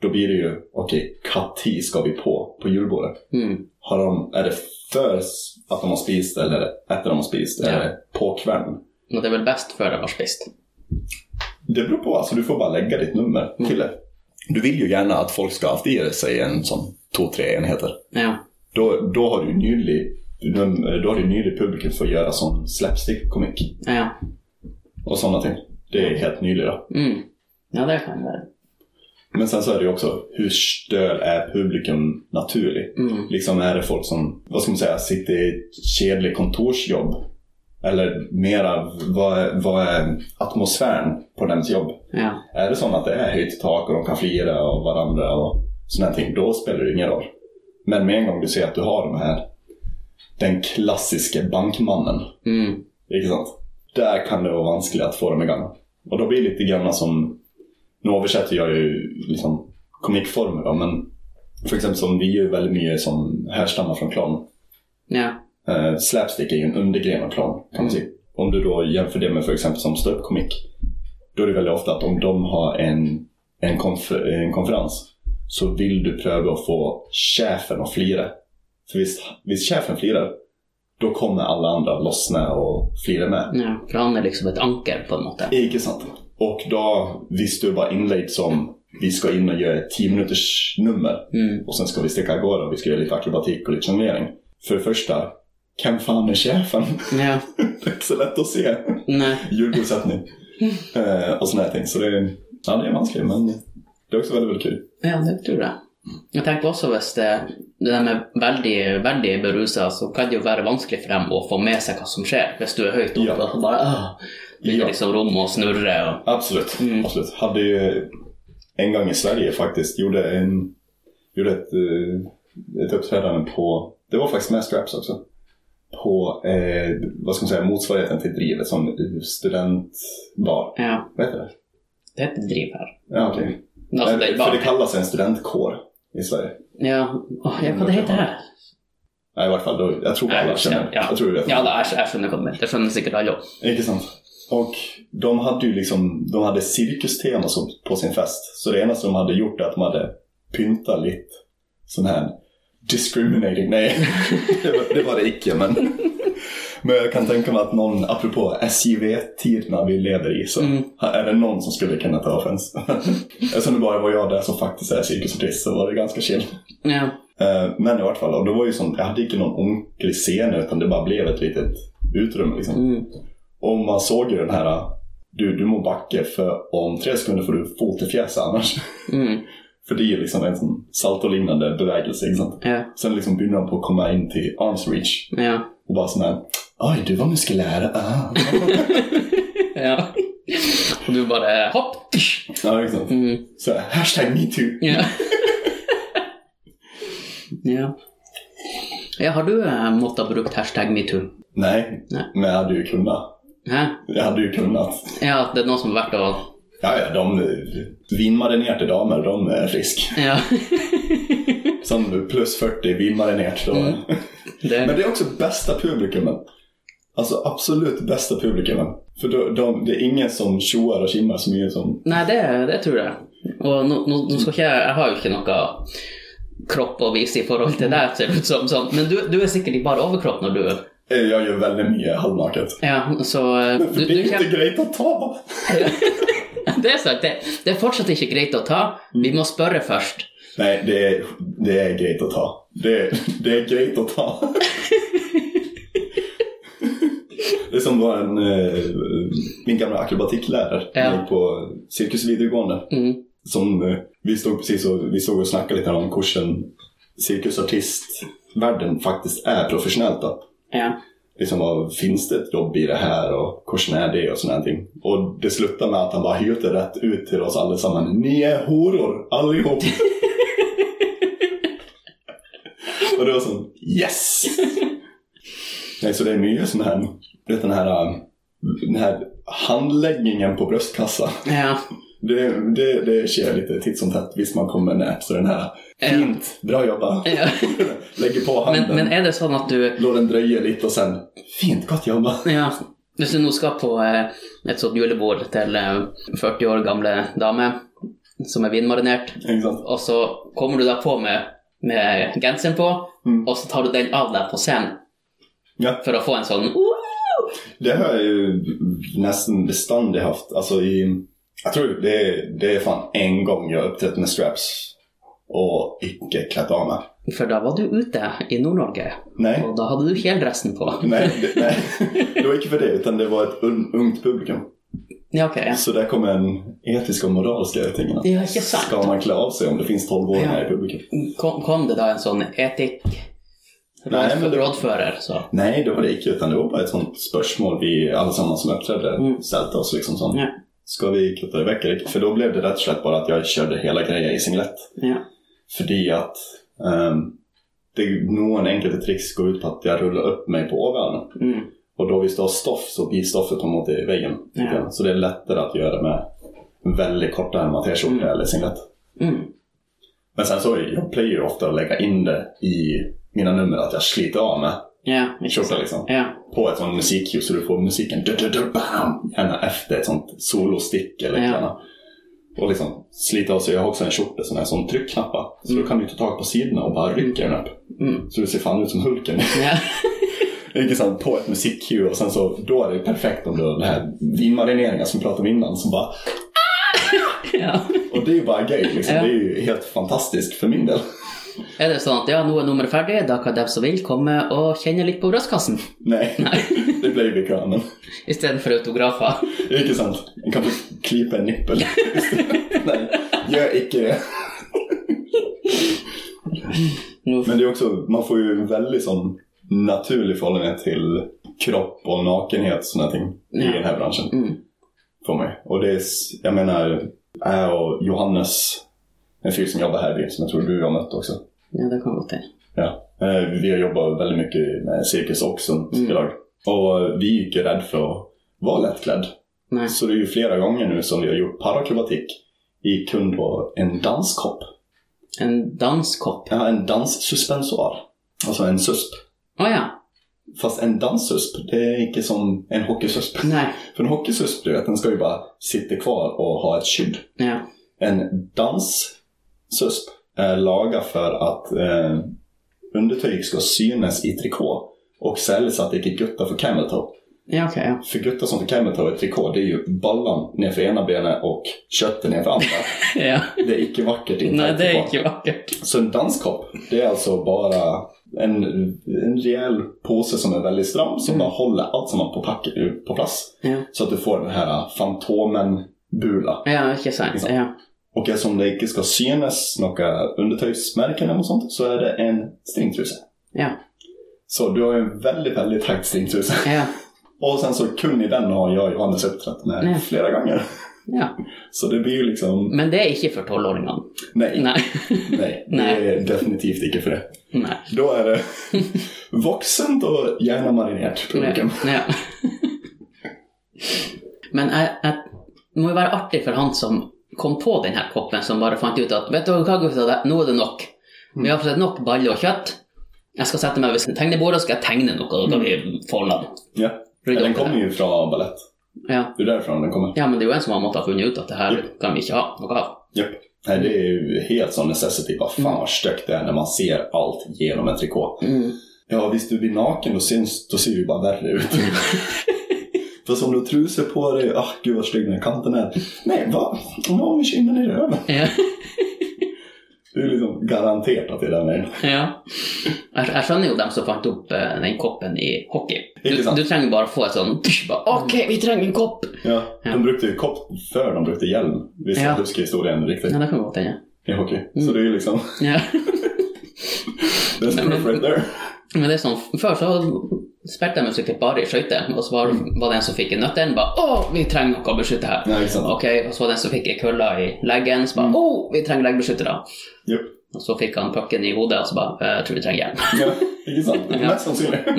då blir det ju, okej, okay, ska vi på, på julbordet.
Mm.
Har de, är det för att de har spist eller är det efter de har spist?
Ja.
Är det på kvällen?
Och det är väl bäst för det var spist.
Det beror på, alltså du får bara lägga ditt nummer
Mm.
till det. Du vill ju gärna att folk ska alltid ge sig en sån två, tre enheter.
Ja.
Då, då har du nylig då har du nylig publiken för att göra sån slapstick-komik
Ja.
och sådana ting. Det är helt nylig då.
Mm. Ja, det kan det vara.
Men sen så är det ju också, hur stöl är publiken naturlig?
Mm.
Liksom är det folk som, vad ska man säga, sitter i ett kedligt kontorsjobb? Eller mera, vad är, vad är atmosfären på deras jobb?
Ja.
Är det så att det är höjt i tak och de kan flira av varandra och sådana ting, då spelar det ingen roll. Men med en gång du ser att du har de här, den klassiska bankmannen,
Mm.
inte sant? Där kan det vara vanskligt att få dem igång. Och då blir det lite grann som, nu översätter jag ju liksom komikformer då, men för exempel som vi gör väldigt mycket som härstammar från clown.
Ja.
Eh, slapstick är ju en undergren av clown, kan man säga. Om du då jämför det med för exempel som ståuppkomik, då är det väldigt ofta att om de har en, en, konfer- en konferens så vill du pröva att få chefen att flira. För visst, visst chefen flirar, då kommer alla andra lossna och flira med.
ja. För han är liksom ett anker på något sätt.
Ikke sant. Och då visste du bara inlägg som vi ska in och göra ett 10 minuters nummer
Mm.
och sen ska vi sticka igång och vi ska göra lite akrobatik och lite jonglering. För det första, vem fan är chefen? [laughs]
Ja.
Det är inte så lätt att se.
Nej.
Julbordsättning. Eh, och sådana här ting. Så det är, ja, det är vanskligt men det är också väldigt, väldigt kul.
Ja, det tror jag.
Mm.
Jag tenker også hvis det, det der med veldig, veldig berusa, så kan det jo være vanskelig for dem å få med seg hva som skjer. Hvis du er høyt oppe
Ja.
og så bare åh, ligger
Ja.
liksom rom och snurrar. Og,
Absolut.
Mm.
Absolut. Hade ju en gång i Sverige faktiskt, gjorde, en, gjorde ett, eh, ett uppträdande på, det var faktiskt med Straps också, på eh, vad ska man säga, motsvarigheten till Drivet som studentbar.
ja,
Vad heter det?
det heter driv her.
Ja, okej.
Altså, Alltså, det
Eh,
er
För
bare,
det kallas en studentkår i Sverige.
ja, åh, ja, hva det heter det her?
Nej, i varje fall, då, jag tror
Nej,
alla
ja,
känner.
ja.
Jag tror vi vet.
Ja, da, jeg, jeg skjønner hva du mener. Det skjønner sikkert alle òg.
Eh, Inte sant? Och de hade ju liksom, de hade cirkustema som- på sin fest. Så det enda som de hade gjort är att de hade pyntat lite sån här discriminating, nej [laughs] det var det, var det icke men. Men jag kan tänka mig att någon, apropå SJV-tiderna vi lever i, så
Mm.
är det någon som skulle kunna ta offens. [laughs] Eftersom det bara var jag där som faktiskt är cirkusartist så var det ganska chill.
Ja.
Eh, Men i vart fall, och det var ju som, jag hade inte någon onklig scen utan det bara blev ett litet utrymme liksom.
Mm.
Och man såg ju den här du, du må backa för om tre sekunder får du fot i fjäsen annars. [laughs]
Mm.
För det är ju liksom en sån saltoliknande bevägelse. Inte sant?
Ja.
Sen liksom börjar de på att komma in till arms reach
Ja.
och bara sån här Oj, du var muskulär. Ah.
ja. Og du bare hopp.
[laughs] ja, liksom.
Mm.
Så här, hashtag metoo.
Ja. [laughs] ja. ja. Har du eh, måttet brukt hashtag metoo?
Nej,
Nej.
men jag hade ju kunnat.
Hæ?
Jag hade ju kunnat.
Ja, att det är någon som har varit och...
Ja, ja, de eh, vinmarinerade damer, de är frisk.
Ja. [laughs]
Som plus 40 vinmarinerat. då-
Mm. Det,
Men det är också bästa publikumen. Alltså absolut bästa publikumen. För de, de, det är ingen som tjoar och tjimmar så mycket som...
nej, det, det tror jag. Och nu, nu, nu ska inte jag, jag har ju inte någon kropp att visa i förhållande till det, ser det ut som. Sånt. Men du, du är säkert i bara överkropp när du
Eh, Jag gör väldigt mycket halvnaket.
Ja, så eh,
För
du,
det är
du
inte
kan,
greit å ta!
[laughs] det, är så, det, det er fortsatt ikke greit å ta. Vi må spørre først.
Nej, det är, det är grejt att ta. Det, det är grejt att ta. Det är som var en, eh, min gamla akrobatiklärare
Ja.
gick på Cirkus Videogående.
Mm.
Som, eh, vi stod precis och, vi såg och snackade lite om kursen cirkusartistvärlden faktiskt är professionellt. Då.
Ja.
Liksom, vad finns det ett jobb i det här och kursen är det och sådana ting. Och det slutade med att han bara hyllade rätt ut till oss allesammans. Ni är horor
[laughs]
allihop! Och det var sån yes! Nej, så det är mycket sån här, du vet den här, äh, den här handläggningen på bröstkassa.
ja.
Det, det, det sker lite titt som tätt. Visst, man kommer med nät så den här, fint, bra jobbat.
ja.
[laughs] Lägger på handen,
Eh. Men, men är det sånn at du
låter den dröja lite och sen, fint, gott jobbat.
ja, Hvis du nå skal på eh, et sånt julebord til eh, 40 år gamle dame som er vinmarinert,
Exakt.
og så kommer du deg på med, med genseren på,
Mm.
og så tar du den av deg på scenen
Ja.
for å få en sånn
Det har jag ju nästan beständigt haft. Alltså i, jag tror det är, det är fan en gång jag har uppträtt med straps och icke klätt av mig.
For da var du ute i Nord-Norge,
Nej,
og da hadde du kjeledressen på.
nej, det,
[laughs]
nej. Det var inte för det, utan det var ett un, ungt publikum.
Ja, ok. Ja.
Så där kommer en etisk och moraliska tingen.
Ja, exakt.
Ska man klä av sig om det finns 12-åringar
Ja.
i publiken?
Kom, kom det da en sånn etikk
Nei, men det-
rådfører, så
Nej, det var det icke, utan det var bara ett sånt spörsmål vi allesammans som uppträdde
Mm.
ställde oss liksom sån.
Ja.
Ska vi kutta iväg Erik? För då blev det rätt och slätt bara att jag körde hela grejen i singlett.
ja.
Fordi att ehm, det är någon enkel tricks går ut på att jag rullar upp mig på ovalen.
Mm.
Och då visst du har stoff så blir stoffet på mot i väggen.
Ja.
tycker jag. Så det är lättare att göra med väldigt korta ärmar t-skjortor
Mm.
eller singlet.
Mm.
Men sen så jag plöjer ju ofta att lägga in det i mina nummer att jag sliter av med
ja. ikke
skjortan
sant.
liksom.
Ja.
På ett sånt musikljus så du får musiken du, du, du, bam, gärna efter ett sånt solostick eller
Ja.
gärna. Och liksom slita av sig. Jag har också en skjorta som är en sån tryckknappar. Så
Mm.
då kan du ta tag på sidorna och bara rycka den upp.
Mm. [laughs]
Så du ser fan ut som Hulken.
ja.
Ligger sån på ett musikkue och sen så, då är det perfekt om du har den här vinmarineringen som vi pratade om innan. Som bara,
ja.
och det är ju bara gay liksom.
Ja.
Det är ju helt fantastiskt för min del.
Er det sånn at ja, nå er nummeret ferdig, da kan dem som vil komme og kjenne litt på [laughs] brystkassen?
Nej, det blir ju bekvämt.
Istedenfor autografer.
Det är inte sant. En kan få klippa
[laughs]
en nippel. Nej, gör icke det.
Mm.
Men det är också, man får ju en väldigt sån naturlig förhållande till kropp och nakenhet och sådana ting i
Ja.
den här branschen.
Mm.
För mig. Och det är, s- jag menar, jag och Johannes, en fyr som jobbar här i byn, som jag tror du har mött också.
Ja, det kan godt hende.
Ja. Eh, Vi har jobbat väldigt mycket med cirkus och sånt
Mm.
idag. Och eh, vi är ju inte rädda för att vara lättklädd.
Nei.
Så det är ju flera gånger nu som vi har gjort parakrobatik i kund på en danskopp.
En danskopp.
Ja, en danssuspensoar. Alltså en susp.
Å ja.
Fast en danssusp, det är inte som en hockeysusp.
Nei.
För en hockeysusp, du vet, den ska ju bara sitta kvar och ha ett skydd.
Ja.
En danssusp är lagad för att eh, undertyg ska synas i trikå. Och säljas att det inte guttar för camel toe.
Ja, ok. Ja.
För guttar som för camel toe i trikå, det är ju ballan nerför ena benet och köttet nerför andra.
ja.
Det är icke vackert i en
Nei,
tajt
det er
trikå.
ikke vakkert.
Så en danskopp, det är alltså bara en, en rejäl påse som är väldigt stram som bara håller allt som man på, pack, på plats.
Mm. Ja.
Så att du får den här Fantomen-bula.
ja, ikke sant. Ja.
Och eftersom det inte ska synas några undertöjsmärken eller något sånt så är det en stringtrusa.
Ja.
Så du har ju en väldigt, väldigt tajt stringtrusa.
Ja.
Och sen så kunnig den har jag och Johannes uppträtt med
Ja.
flera gånger.
ja.
Så det blir ju liksom,
Men det er ikke for tolvåringene.
nej,
[laughs] Nei.
nej,
Nej.
det är definitivt inte för det.
Nei.
Då
[laughs]
är det vuxent och gärna marinerat publikum.
Ja. Ja. [laughs] Men jeg, jeg det må jo være artig for han som kom på den her koppen, som bare fant ut at vet du hva, gutta, det- nå er det nok. Vi har fått nok balle och kött. Jag ska sätta mig vid tegnebordet och ska jag tegna något och då kan vi folda det.
Ja.
Rydda
Den
upp det
kommer
här.
ju från ballett.
Ja.
Det är därifrån den kommer.
ja, men det är ju en som har måttet ha funnit ut att det här kan vi inte ha något av.
Japp. Nej, det är ju helt sån necessity. Vad fan vad stök det är när man ser allt genom en trikå.
Mm.
Ja, visst du blir naken då, syns, då ser du ju bara värre ut. Fast om du har trusor på dig, ah gud vad snygg den här kanten är. Nej, va? Ja, vi kör in den i röven.
Ja.
Det är liksom garanterat att det är den vägen.
Ja. Jag, jag skjønner jo dem som fant opp eh, den koppen i hockey. Du,
Ikke sant?
du trenger bare få et sånn tsk, bare, OK, vi trenger en kopp!
Ja,
Ja.
de brukte ju kopp för de brukte hjälm. Visst,
Ja.
ja. ruskig historia än riktigt
Ja, det kan godt hende.
i hockey. Så det är ju liksom,
Ja.
that's proof right there.
Men det er sånn, Før så spilte de sikkert bare i skøyter, og så var, var det en som fikk en nøtten. bare, Å, vi trenger noe å beskytte her.
Nej, inte sant.
Ok, Og så var det en som fikk ei kølle i leggen. Så bare, å, vi trenger leggbeskyttere.
Mm. Japp.
Og så fikk han pucken i hodet, og så bare, «Eh, jeg tror vi trenger hjelm.
Ja, inte sant? Mest sannsynligt.
[laughs]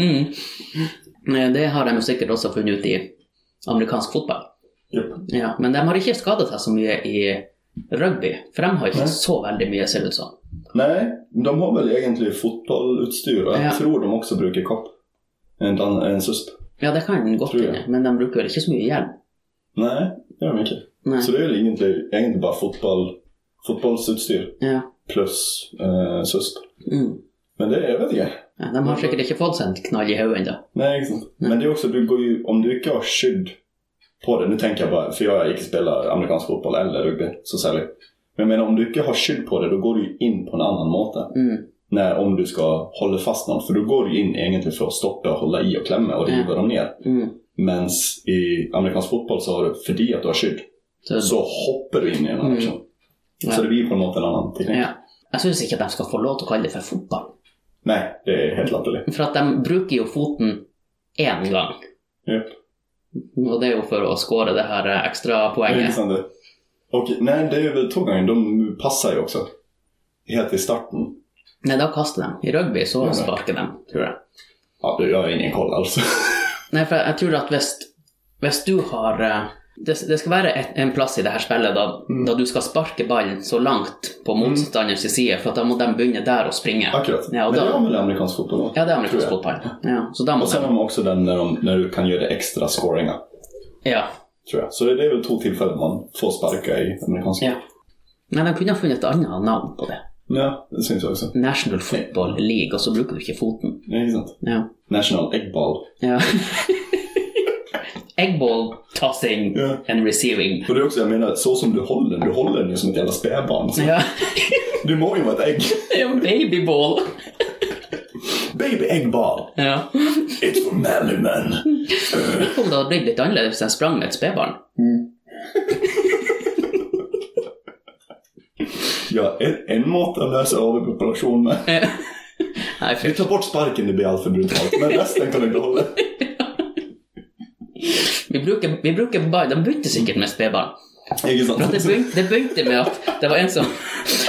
Mm. Eh, Det har de jo sikkert også funnet ut i amerikansk fotball.
Japp.
Ja, Men de har ikke skadet seg så mye i rugby, for de har ikke
Nei.
så veldig mye, ser det ut som.
Nej, de har väl egentligen fotbollutstyr och jag
Ja.
tror de också brukar kopp. En, dan- en susp.
Ja, det kan godt
Tror jeg.
hende, men de bruker vel ikke så mye hjelm.
Nej, det har de inte.
Nei.
Så det är väl egentligen, egentligen bara fotboll, fotbollsutstyr
Ja.
plus eh, susp.
Mm.
Men det är, jag vet inte.
Ja, de har sikkert ikke fått seg en knall i hodet ennå.
Nej, inte sant. Men det är också, du går ju, om du inte har skydd på det. Nu tänker jag bara, för jag inte spelar amerikansk fotboll eller rugby, så särskilt. Men jag menar, om du inte har skydd på det, då går du ju in på en annan måte.
Mm.
När, om du ska hålla fast någon. För då går du in egentligen för att stoppa och hålla i och klämma och riva
Ja.
dem ner.
Mm.
Men i amerikansk fotboll så har du, fördi att du har skydd,
Så,
så hoppar du in i en annan
Mm.
action.
Ja.
Så det blir på något en annan teknik.
ja. Jeg syns ikke at de skal få lov til å kalle det for fotball.
Nej, det är helt latterligt.
For at de bruker jo foten én gang.
Japp.
Og det er jo for å score det her eh, ekstrapoenget.
Intressant. Och liksom nej, det är väl två gånger. De passar ju också. Helt i starten.
Nei, da kaster de. I rugby så
Ja, ja.
sparker de, tror jeg.
Ja, du, jag har ingen koll alls. [laughs]
Nei, for jeg tror at hvis, hvis du har eh, det, det skal være et, en plass i det her spillet da,
Mm.
da du skal sparke ballen så langt på motstanderens side, for at da må de begynne der å springe.
Akkurat.
Ja, och
Men det
då-
har väl amerikansk fotboll då?
Ja, det er amerikansk
Tror
fotball. Ja, så da må
Och sen
de
har de också den när, de, när du kan göra extra scoringar.
Ja.
Tror jag. Så det, det är väl två tillfällen man får sparka i amerikanska.
ja. Men de kunne ha funnet et annet navn på det.
Ja, det syns jag också.
National Football League, og så bruker du ikke foten.
Det är sant.
Ja.
National Eggball.
ja. [laughs] Eggball tossing
Ja.
and receiving.
Och det är också, jag menar, så som du håller den. Du håller den ju som ett jävla spädbarn. Så
Ja. [laughs]
Du må ju vara ett ägg.
Babyball.
[laughs] Baby äggball.
Ja.
It's for manly men.
Tenk om det hadde blitt litt annerledes hvis jeg sprang med et spedbarn.
Ja, en, en måte att lösa överpopulation med.
Eh. Nei,
Du
fy.
tar bort sparken, det blir allt för brutalt. Men resten kan du behålla.
Vi bruker, vi bruker bare De begynte sikkert med spedbarn.
Inte
For at Det,
sant?
begynte, det begynte med at det var en som,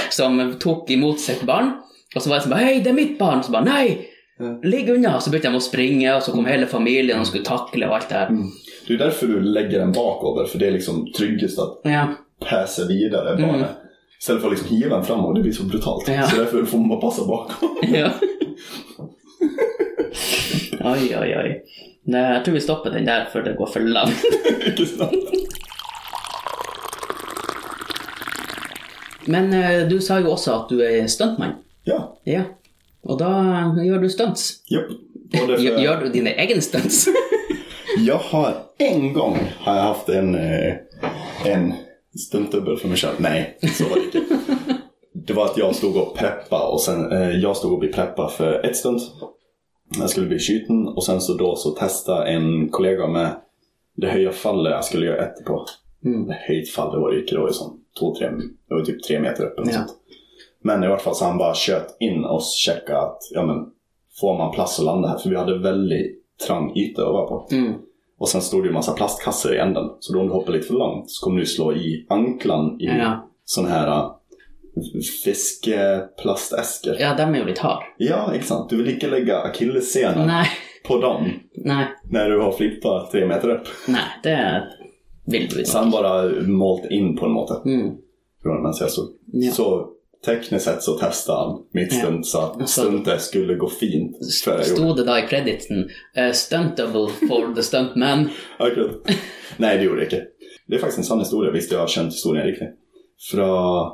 som tok imot sitt barn, og så var det en som bare 'Hei, det er mitt barn!' Og så bare 'Nei,
Ja.
ligg unna!' Så begynte de å springe, og så kom hele familien og skulle takle og alt det her.
Mm. Det är därför du lägger den bakover, för det är liksom tryggast att
Ja.
passa vidare bara.
Mm.
Istället för att liksom hiva den framåt, det blir så brutalt.
Ja.
Så därför får man passa bakom. [laughs]
Ja. Oi, oi, oi. Nei, jeg tror vi stopper den der før det går for langt.
Inte sant?
Men eh, du sa jo også at du er stuntmann.
Ja,
Ja. Og da gjør du stunts.
japp. Och därför-
Gjør, gjør du dine egne stunts?
Jag har en gång har jag haft en, eh, en stuntdubbel för mig själv. Nej, så var det inte. Det var att jag stod och preppa och sen eh, jag stod och blev preppa för ett stunt. Jag skulle bli skjuten och sen så då så testa en kollega med det höja fallet jag skulle göra ett på.
Mm.
Höjt fall, det var ju inte, det var ju som två, tre, det var ju typ tre meter upp eller
Ja.
sånt. Men i vart fall så han bara kört in och checka att ja, men, får man plats att landa här? För vi hade väldigt trång yta att vara på.
Mm.
Och sen stod det ju en massa plastkassar i änden. Så då om du hoppar lite för långt så kommer du slå i anklan i
Ja.
sån här äh, fiskeplastäskor.
ja, de er jo litt harde.
Ja, exakt. Du vill inte lägga akillessenen
Nei,
på dem
nei,
när du har flippat tre meter upp.
nei, det vil du
Så
ikke.
han bara målt in på en måte.
Mm.
Från den jag såg.
Ja.
Så tekniskt sett så testade han mitt
Ja.
stunt så att
Alltså-
stuntet skulle gå fint. För jag gjorde.
Sto det da i krediten eh, 'Stunt double for the stunt man'?
Akkurat. Nej, det gjorde det inte. Det är faktiskt en sann historia. Visst, jag har känt historien riktigt. Från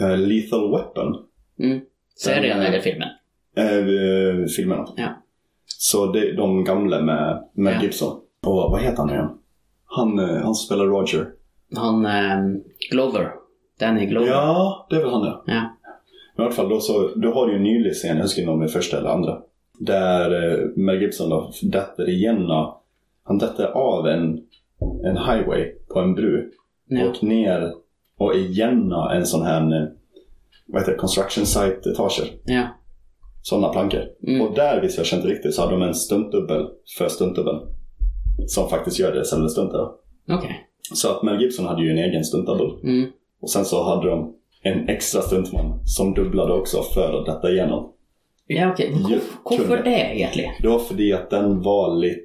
eh, Lethal Weapon.
Mm. Serien eller filmen?
eh, filmerna.
Ja.
Så det är de gamla med, med
Ja.
Gibson. Och vad heter han nu igen? Han, eh, han spelar Roger.
Han ehm, Glover. Danny Glover.
Ja, det är väl han ja.
Ja.
Men I alla fall, då, så, då har du ju en nylig scen, jag husker inte om det är första eller andra. Där eh, Mel Gibson då dätter igen. Han dätter av en, en highway på en bru.
Ja.
Och ner och igen en sån här, eh, vad heter det, construction site-etager.
ja.
Sådana plankor.
Mm.
Och där, visst jag kände riktigt, så hade de en stuntdubbel för stuntdubbeln. Som faktiskt gör det sämre stuntar. då.
Okej.
Så att Mel Gibson hade ju en egen stuntdubbel.
Mm.
Och sen så hade de en extra stuntman som dubblade också för att detta igenom.
Ja, okej. Men
Ja,
varf- Varför
kunde.
det egentligen?
Det var för att den var lite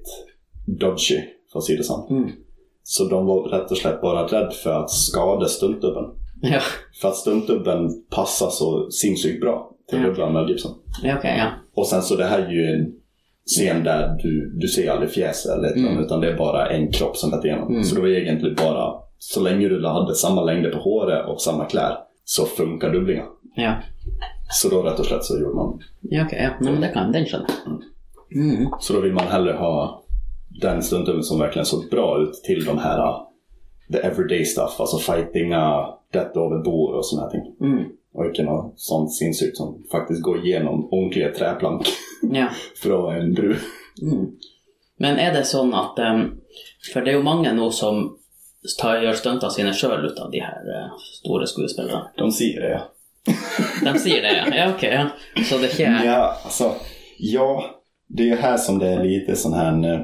dodgy, för att säga det sant.
Mm.
Så de var rätt och slätt bara rädd för att skada stuntdubben.
[laughs] Ja,
För att stuntdubben passar så sinnessjukt bra till
Ja.
dubblan Mel Gibson.
ja okej. ja.
Och sen så det här är ju en scen där du, du ser aldrig fjäs eller ett
Mm.
namn, utan det är bara en kropp som vet igenom.
Mm.
Så det var egentligen bara, så länge du hade samma längder på håret och samma kläder så funkar dubblingen.
Ja,
Så då rätt och slätt så gjorde man.
ja okej. ja. Nej, men det kan den känna. Mm.
Så då vill man hellre ha den stunden som verkligen såg bra ut till de här uh, the everyday stuff, alltså fightinga, death over bor och sådana här ting.
Mm.
Och vilken av sånt sinnessjukt som faktiskt går igenom onkliga träplank [laughs]
Ja.
från en bru.
Mm. Men är det sånn at ehm, For det er jo mange nå som tar, gjør stunta sine sjøl ut av de her eh, store skuespillerne.
De säger det ja.
De sier det, ja. ja ok, ja. Så det er ikke
Ja, alltså, ja, det är ju här som det är lite sån här eh,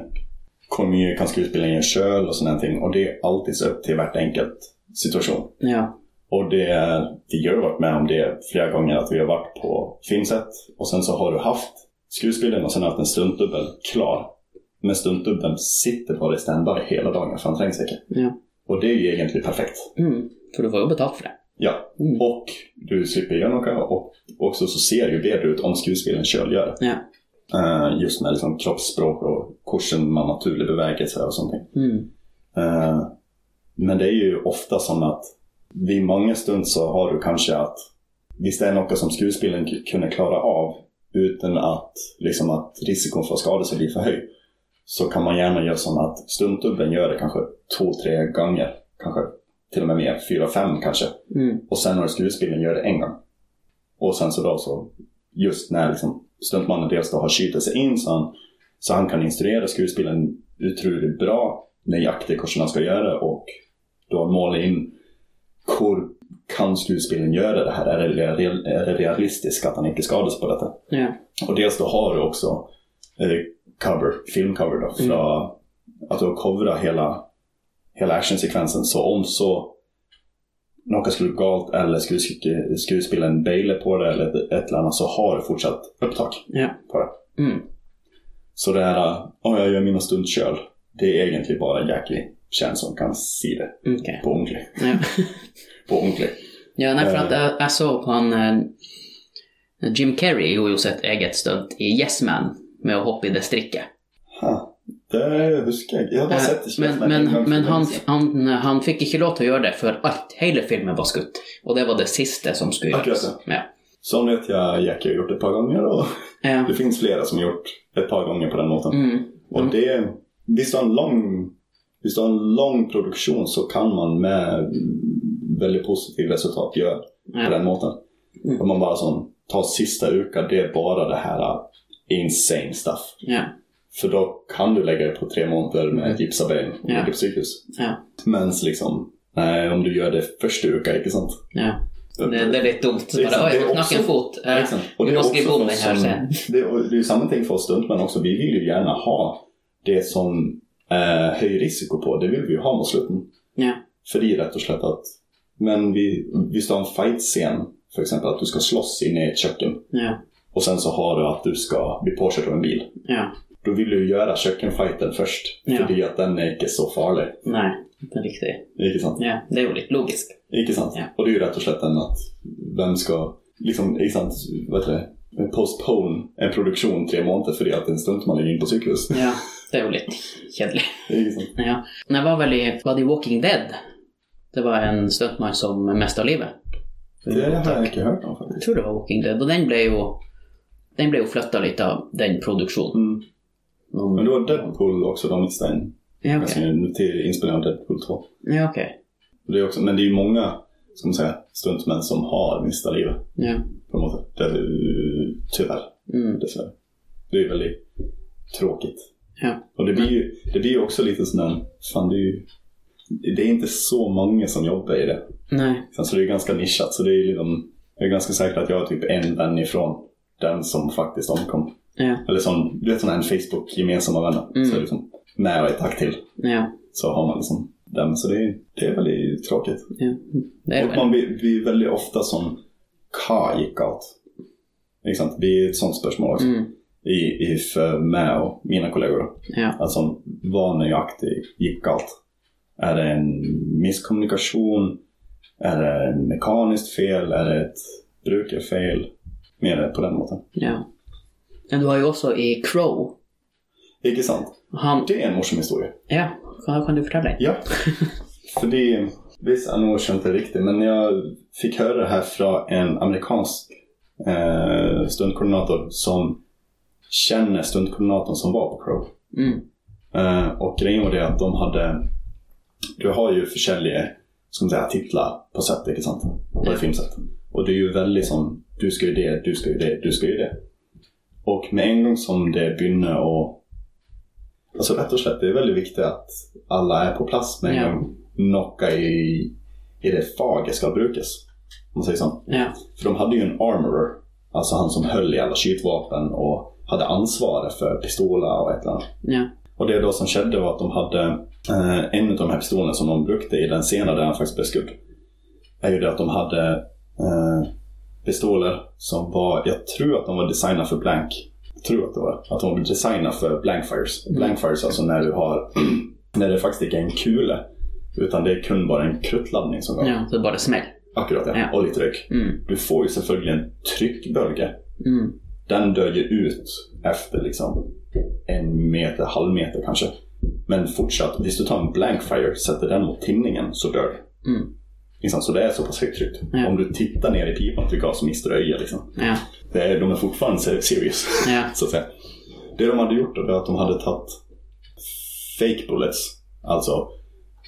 kommun kan skuespelaren göra själv och sån här ting. Och det är alltid så upp till vart enkelt situation.
Ja.
Och det är, vi har ju varit med om det flera gånger, att vi har varit på filmset och sen så har du haft skuespelaren och sen haft en stuntdubbel klar. Men stuntdubbeln sitter bara i standby hela dagen för han trängs inte.
Ja.
Och det är ju egentligen perfekt.
Mm. For du får jo betalt for det.
Ja,
Mm.
och du slipper göra något och också så ser det ju bättre ut om skuespelaren själv gör det.
Ja.
Eh, just med liksom kroppsspråk och kursen man naturlig bevägelse och sånt.
Mm.
Eh, Men det är ju ofta som att vid många stund så har du kanske att visst det är något som skuespelaren k- kunde klara av utan att, liksom att riskon för skadelse blir för hög. Så kan man gärna göra som att stuntdubben gör det kanske två, tre gånger. Kanske till och med mer, fyra, fem kanske.
Mm.
Och sen har skuespelaren gör det en gång. Och sen så då så, just när liksom stuntmannen dels då har skjutit sig in så han, så han kan instruera skuespelaren otroligt bra nöjaktigt hur han ska göra och då måla in hur kan skuespelaren göra det här? Är det, real- är det realistiskt att han inte skadas på detta?
Ja.
Och dels då har du också eh, cover, filmcover då.
Mm.
För att du covrar hela, hela actionsekvensen. Så om så något skulle gå galt eller skulle sk- skuespelaren baila på det eller ett- ett eller annat så har du fortsatt upptag
Ja.
på det.
Mm.
Så det här, om jag gör mina stunt själv. Det är egentligen bara Jackie Chan som kan se det
Ok.
på ordentligt.
Ja.
På ordentligt.
ja, nei, for at jeg, jeg så på eh, han eh, Jim Kerry gjorde jo sitt eget stunt i Yes Man med å hoppe i det strikket.
Ha, det huskar jag. Jag har bara sett det.
Äh, Eh, Men, men, men han, han, han fikk ikke lov til å gjøre det før alt, hele filmen var skutt. Og det var det siste som skulle gjøres.
Akkurat
Ja.
Som vet jag Jackie har gjort det ett par gånger. Och...
Ja.
Det finns flera som har gjort ett par gånger på den låten.
Mm.
Och det, visst du har en lång, visst du har en lång produktion så kan man med väldigt positivt resultat göra på
Ja.
den låten.
Mm.
Om man bara sån, tar sista uka, det är bara det här uh, insane stuff.
Ja.
För då kan du lägga det på tre månader med gipsarbein och
Mm. Ja.
gipssjukhus.
Ja.
Mens liksom, nej om du gör det första uka, inte sant?
ja. Det, det er litt dumt. Bare, Oi, du knakk en fot.
Ja,
Eh,
exakt.
Vi måste
också
skriva om
för
den här
oss som-
sen.
Det är, och det är ju samma ting för oss stuntmän också. Vi vill ju gärna ha det som eh, höjer risiko på. Det vill vi ju ha mot slutet.
Ja.
För det är rätt och slätt att... Men vi, vi ska ha en fight-scen. För exempel att du ska slåss inne i ett köken.
Ja.
Och sen så har du att du ska bli påkörd av en bil.
ja.
Då vill du ju göra kökenfighten först.
Ja.
För det är att den är inte så farlig.
Nei, det er riktig.
Inte sant?
Ja. Det är jo litt logisk.
Inte sant?
Ja.
Och det är ju rätt och slätt den att vem ska, liksom, inte sant, vad heter det? Postpone en produktion tre månader för det att en stuntman ligger in på sjukhus.
Ja. Det er jo litt kjedelig.
Inte sant?
Ja. Men jeg var vel i Var det i Walking Dead? Det var en stuntmann som mista livet.
Det har jag inte hört om faktiskt.
Jeg tror det var Walking Dead, og den ble jo Den ble jo flytta litt av den produksjonen.
Mm. Men det var Deadpool också, de missade en.
Ja,
Alltså,
okej.
Till inspelningen av Deadpool 2.
Ja, okej.
Det är också, men det är ju många ska man säga, stuntmän som har mista livet.
Ja.
På något sätt. Det, eh, tyvärr,
Mm.
dessvärre. Det är ju väldigt tråkigt.
Ja.
Och det blir ju det blir ju också lite sån där, fan det är ju, det är inte så många som jobbar i det.
Nej.
Sen så det är ju ganska nischat, så det är ju liksom, jag är ganska säker att jag är typ en vän ifrån den som faktiskt omkom.
Ja.
Eller som, du vet sådana här Facebook-gemensamma vänner.
Mm.
Så liksom, nära ett tack till
Ja.
så har man liksom dem. Så det är, det är väldigt tråkigt.
ja. Det är det
Och
väl.
man blir, blir väldigt ofta som Ka gick out. Liksom, det är ett sånt spörsmål också.
Mm.
I, i för mig och mina kollegor. då.
Ja.
Alltså, vad nöjaktig gick out? Är det en misskommunikation? Är det en mekaniskt fel? Är det ett brukarfel? Mer på den måten.
ja. Men du har ju också i Crow
Inte sant?
han,
Det är en morsom historia.
Ja, kan, kan du fortelle den?
Ja. För det, visst jag nog inte riktigt, men jag fick höra det här från en amerikansk eh, stuntkoordinator som känner stuntkoordinatorn som var på Crow.
Mm.
Eh, och grejen var det att de hade, du har ju försäljare, ska man säga, titlar på set, inte sant? På
Ja.
ett filmset. Och det är ju väldigt som, du ska ju det, du ska ju det, du ska ju det. Och med en gång som det börjar och Alltså rätt och slätt, det är väldigt viktigt att alla är på plats med en
Ja.
gång. Knocka i, i det faget ska brukas. Om man säger så.
Ja.
För de hade ju en armorer, alltså han som höll i alla skjutvapen och hade ansvaret för pistoler och ett eller annat.
Ja.
Och det då som skedde var att de hade eh, en av de här pistolerna som de brukade i den scenen där han faktiskt blev skutt. Är ju det att de hade eh, pistoler som var, jag tror att de var designade för blank. Jag tror att det var Att de var designade för blank fires. Blank fires alltså när du har, [clears throat] när det faktiskt inte är en kula. Utan det är kun bara en kruttladdning som går.
ja. Så det bara smell.
Akkurat ja.
Ja.
Och lite rök.
Mm.
Du får ju selvfølgelig en tryckbölja.
Mm.
Den dör ju ut efter liksom en meter, halv meter kanske. Men fortsatt, om du tar en blank fire, sätter den mot tinningen så dör den.
Mm.
Liksom, så det är så pass högt tryck.
Ja.
Om du tittar ner i pipan till gas så mister du öja. Liksom.
Ja.
Det är, de är fortfarande ser- serious, [laughs]
Ja.
så att säga. Det de hade gjort då, det var att de hade tagit fake bullets. Alltså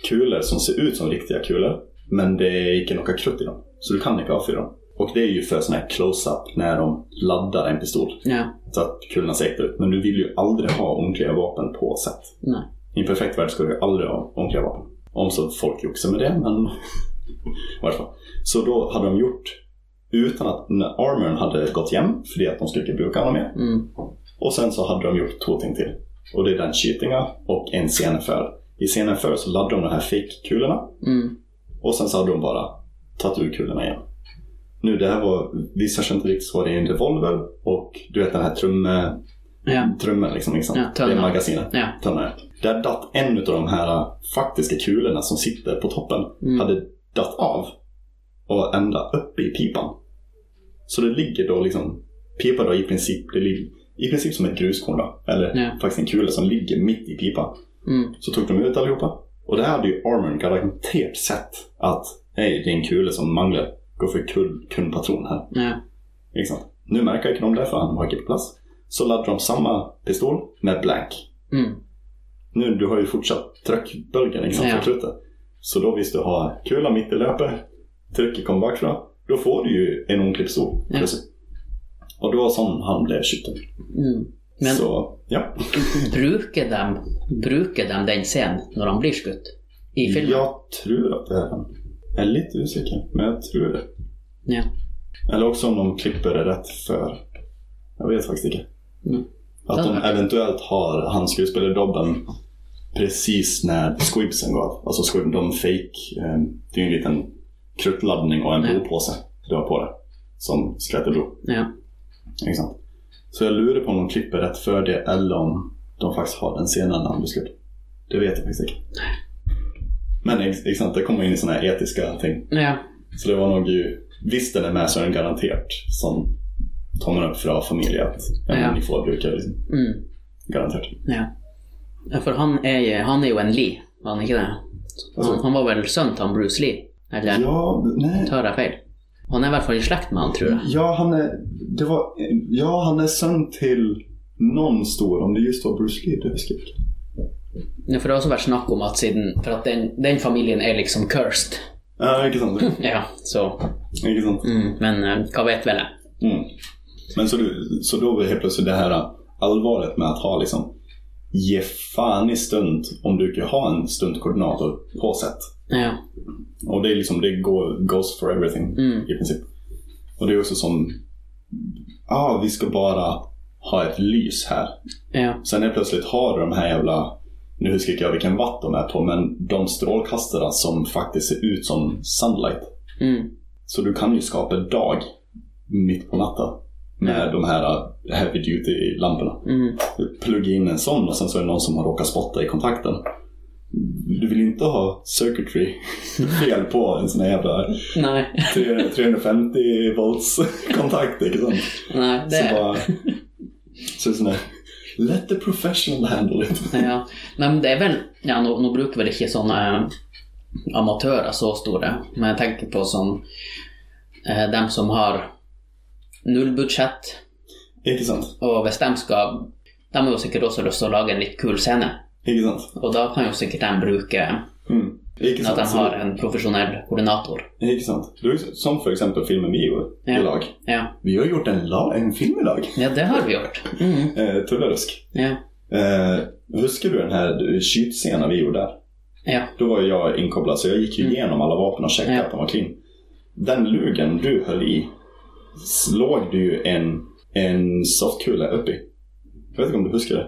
kulor som ser ut som riktiga kulor, men det är inte något krutt i dem. Så du kan inte avfyra dem. Och det är ju för sån här close-up när de laddar en pistol.
Ja.
Så att kulorna ser äkta ut. Men du vill ju aldrig ha onkliga vapen på set.
Nej.
I en perfekt värld ska du ju aldrig ha onkliga vapen. Om så folk joxar med det, men [laughs] varför? Så då hade de gjort, utan att när armorn hade gått igen, för det att de skulle inte bruka alla mer.
Mm.
Och sen så hade de gjort två ting till. Och det är den cheatinga och en scen för. I scenen för så laddade de de här fake-kulorna
Mm.
och sen så hade de bara tagit ur kulorna igen. Nu det här var, vissa kände inte riktigt så var det är en revolver och du vet den här trumme
Ja.
trummen liksom. liksom.
Ja, tunnan.
det är magasinet.
Ja.
Tunnan, ja. Där datt en av de här faktiska kulorna som sitter på toppen
Mm.
hade datt av och ända uppe i pipan. Så det ligger då liksom, pipan då i princip, det ligger i princip som ett gruskorn då. Eller
Ja.
faktiskt en kula som ligger mitt i pipan.
Mm.
Så tog de ut allihopa. Och det här hade ju Armorn garanterat sett att, hej det är en kula som manglar. Gå för kul, kundpatron här.
Ja.
Liksom. Nu märker inte de det för han var inte på plats. Så laddar de samma pistol med blank.
Mm.
Nu du har ju fortsatt tryckböljan liksom,
Ja.
för krutet. Så då visst du har kula mitt i löpet, trycket kommer bakifrån. Då får du ju en onklig pistol.
Ja.
plötsligt. Och det var sån han blev skjuten.
Mm. Men
Så, ja.
bruker de, bruker de den scenen när han blir skutt? I filmen?
Jag tror att det är han. Jag är lite osäker, men jag tror det.
Ja.
Eller också om de klipper det rätt för... Jag vet faktiskt inte.
Mm.
Att de
Ja.
eventuellt har han skuespelardobben precis när squibsen gav. Alltså squib, de fake... Eh, det är ju en liten kruttladdning och en
Ja.
blodpåse du har på dig. Som skvätter blod.
Ja.
Inte sant? Så jag lurar på om de klipper rätt för det eller om de faktiskt har den scenen när han blir skutt. Det vet jag faktiskt inte. Men ex- exakt, det kommer in i sådana här etiska ting.
Ja.
Så det var nog ju, visst den är med så är den garanterat som tummen upp för familj att ja.
Ja.
men, ni får bruka det liksom.
Mm.
Garanterat.
Ja. Ja, För han är ju, han är ju en Lee, var han inte det?
Alltså,
Han, han var väl son till han Bruce Lee? Eller
ja, nej.
tar jag fel? Han är i alla fall i släkt med han tror jag.
Ja, han är, det var, ja, han är sönd till någon stor, om det just var Bruce Lee det vi skrev.
Ja, för det har också varit snack om att siden, för att den, den familjen är liksom cursed.
Ja, inte sant?
Ja, så.
Inte sant?
Mm, men eh, vad vet väl jag.
Mm. Men så, du, så då var helt plötsligt det här allvaret med att ha liksom ge fan i stunt om du kan ha en stuntkoordinator på sätt.
Ja.
Och det är liksom, det går, goes for everything
Mm.
i princip. Och det är också som, ja ah, vi ska bara ha ett lys här.
Ja.
Sen är plötsligt har du de här jävla, nu huskar inte jag vilken watt de är på, men de strålkastarna som faktiskt ser ut som sunlight.
Mm.
Så du kan ju skapa dag mitt på natten med
Mm.
de här äh, heavy duty lamporna.
Mm.
Plugga in en sån och sen så är det någon som har råkat spotta i kontakten. Du vill inte ha circuitry [laughs] fel på en sån här jävla
Nej.
3- 350 volts kontakt. Liksom.
Nej, det...
Så bara... Så är det sån här, Let the professional handle it.
[laughs] Ja. Nej, men det är väl, ja, nu, nu brukar väl inte sådana eh, amatörer så stora, men jag tänker på som eh, de som har noll budget
Inte sant?
och om de ska, de har ju säkert också lust att laga en lite kul scen
Inte sant?
och då kan ju säkert de bruka
Mm. Inte
att
sant?
de
Så-
har en professionell koordinator.
Inte sant? Du, som för exempel filmen vi gjorde
Ja.
i lag.
Ja,
Vi har gjort en, la- en film i lag.
ja det har vi gjort. Mm.
Eh, Tullerusk.
Ja,
Eh, huskar du den här kytscenen vi gjorde där?
ja,
Då var ju jag inkopplad så jag gick ju
Mm.
igenom alla vapen och checkade
Ja.
att de var clean. Den lugen du höll i slog du ju en, en soffkula upp i. Jag vet inte om du huskar det?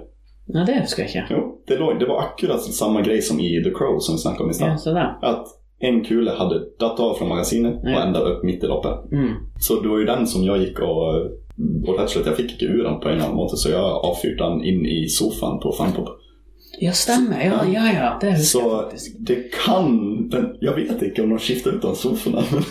ja det ska jag inte.
Jo, det, låg, det var akkurat samma grej som i The Crow som vi snackade om i
Ja,
stad.
sådär.
Att en kula hade datt av från magasinet
Ja.
och ända upp mitt i loppet.
Mm.
Så det var ju den som jag gick och eh, och rätt slätt, jag fick inte ur den på en eller annan måte så jag avfyrde den in i soffan på Funpop.
Ja, stämmer. Ja, ja, ja. Det huskar jag
Så
faktiskt.
det kan, den, jag vet inte om de skiftar ut de sofforna. [laughs] men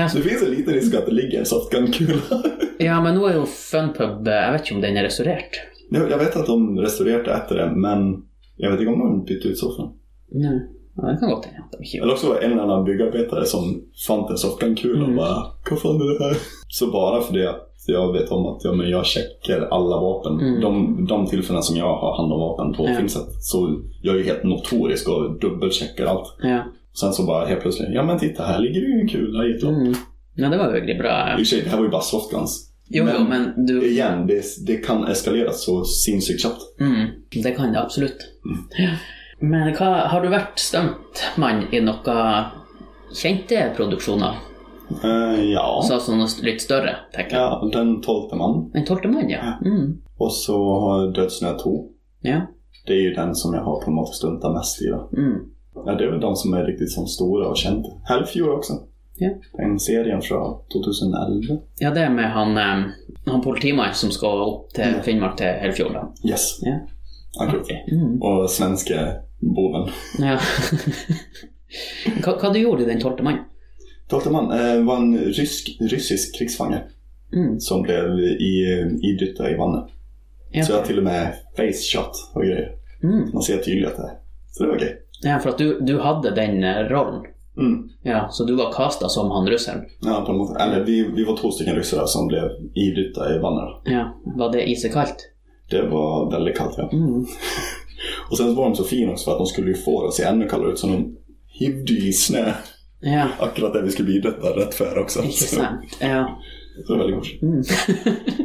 Ja,
Det finns en liten risk att det ligger en softgun-kula.
Ja, men nu är ju Funpub, eh, jag vet inte om den är restaurerad.
[laughs] Jag jag vet att de restaurerat efter det men jag vet inte om de bytte ut soffan.
Nej, ja, det kan gott hända. att de inte gjorde.
Eller också var det en eller annan byggarbetare som fann en softgun-kula
Mm.
och bara Vad fan är det här? Så bara för det att jag vet om att ja, men jag checkar alla vapen.
Mm.
De, de tillfällen som jag har hand om vapen på
Ja.
filmset. Så jag är ju helt notorisk och dubbelcheckar allt.
Ja.
Sen så bara helt plötsligt, ja men titta här ligger ju en kula i ett lopp.
Mm. ja, det var väldigt bra.
I och för sig, det här var ju bara softguns.
Jo, men, jo, men du...
Igen, det, det kan eskalera så sinnssykt snabbt.
Mm, det kan det absolut. Ja. Men hva, har du varit stuntmann i noen kjente produksjoner?
Eh, ja.
Så, sånn litt større, tenker jeg.
ja, den tolfte man.
En tolvte mann, ja. Mm.
Och så har jag Dödsnö 2.
Ja.
Det är ju den som jag har på något stuntat mest i. Då.
Mm.
Ja, det är väl de som är riktigt som stora och kända. Hellfjord också.
Ja.
Den serien från 2011.
ja, det er med han, eh, han politimannen som skal opp til Finnmark til Helfjord. da.
Yes.
Ja.
Han gjorde det.
Mm.
Och svenska boven.
Ja. [laughs] hva, hva du gjorde i den tolvte mann?
Tolfte man eh, var en rysk, rysk krigsfange.
Mm.
som blev i- idrytta i vattnet.
Ja.
Så jag har till och med face shot och grejer.
Mm.
Man ser tydligt att det är. Så det var okej.
Ja, för att du, du hade den eh, rollen.
Mm.
Ja, så du var castad som han ryssen.
Ja, på något, eller vi, vi var två stycken ryssar som blev idrytta i vattnet.
Ja, var det isekallt?
Det var väldigt kallt. Ja.
Mm.
Och sen så var de så fina också för att de skulle ju få det att se ännu kallare ut. Så de hivde ju i snö
Ja,
akkurat där vi skulle bli idrytta rätt före också. Så,
intressant. [laughs] Ja.
så det var väldigt gott.
Mm. [laughs]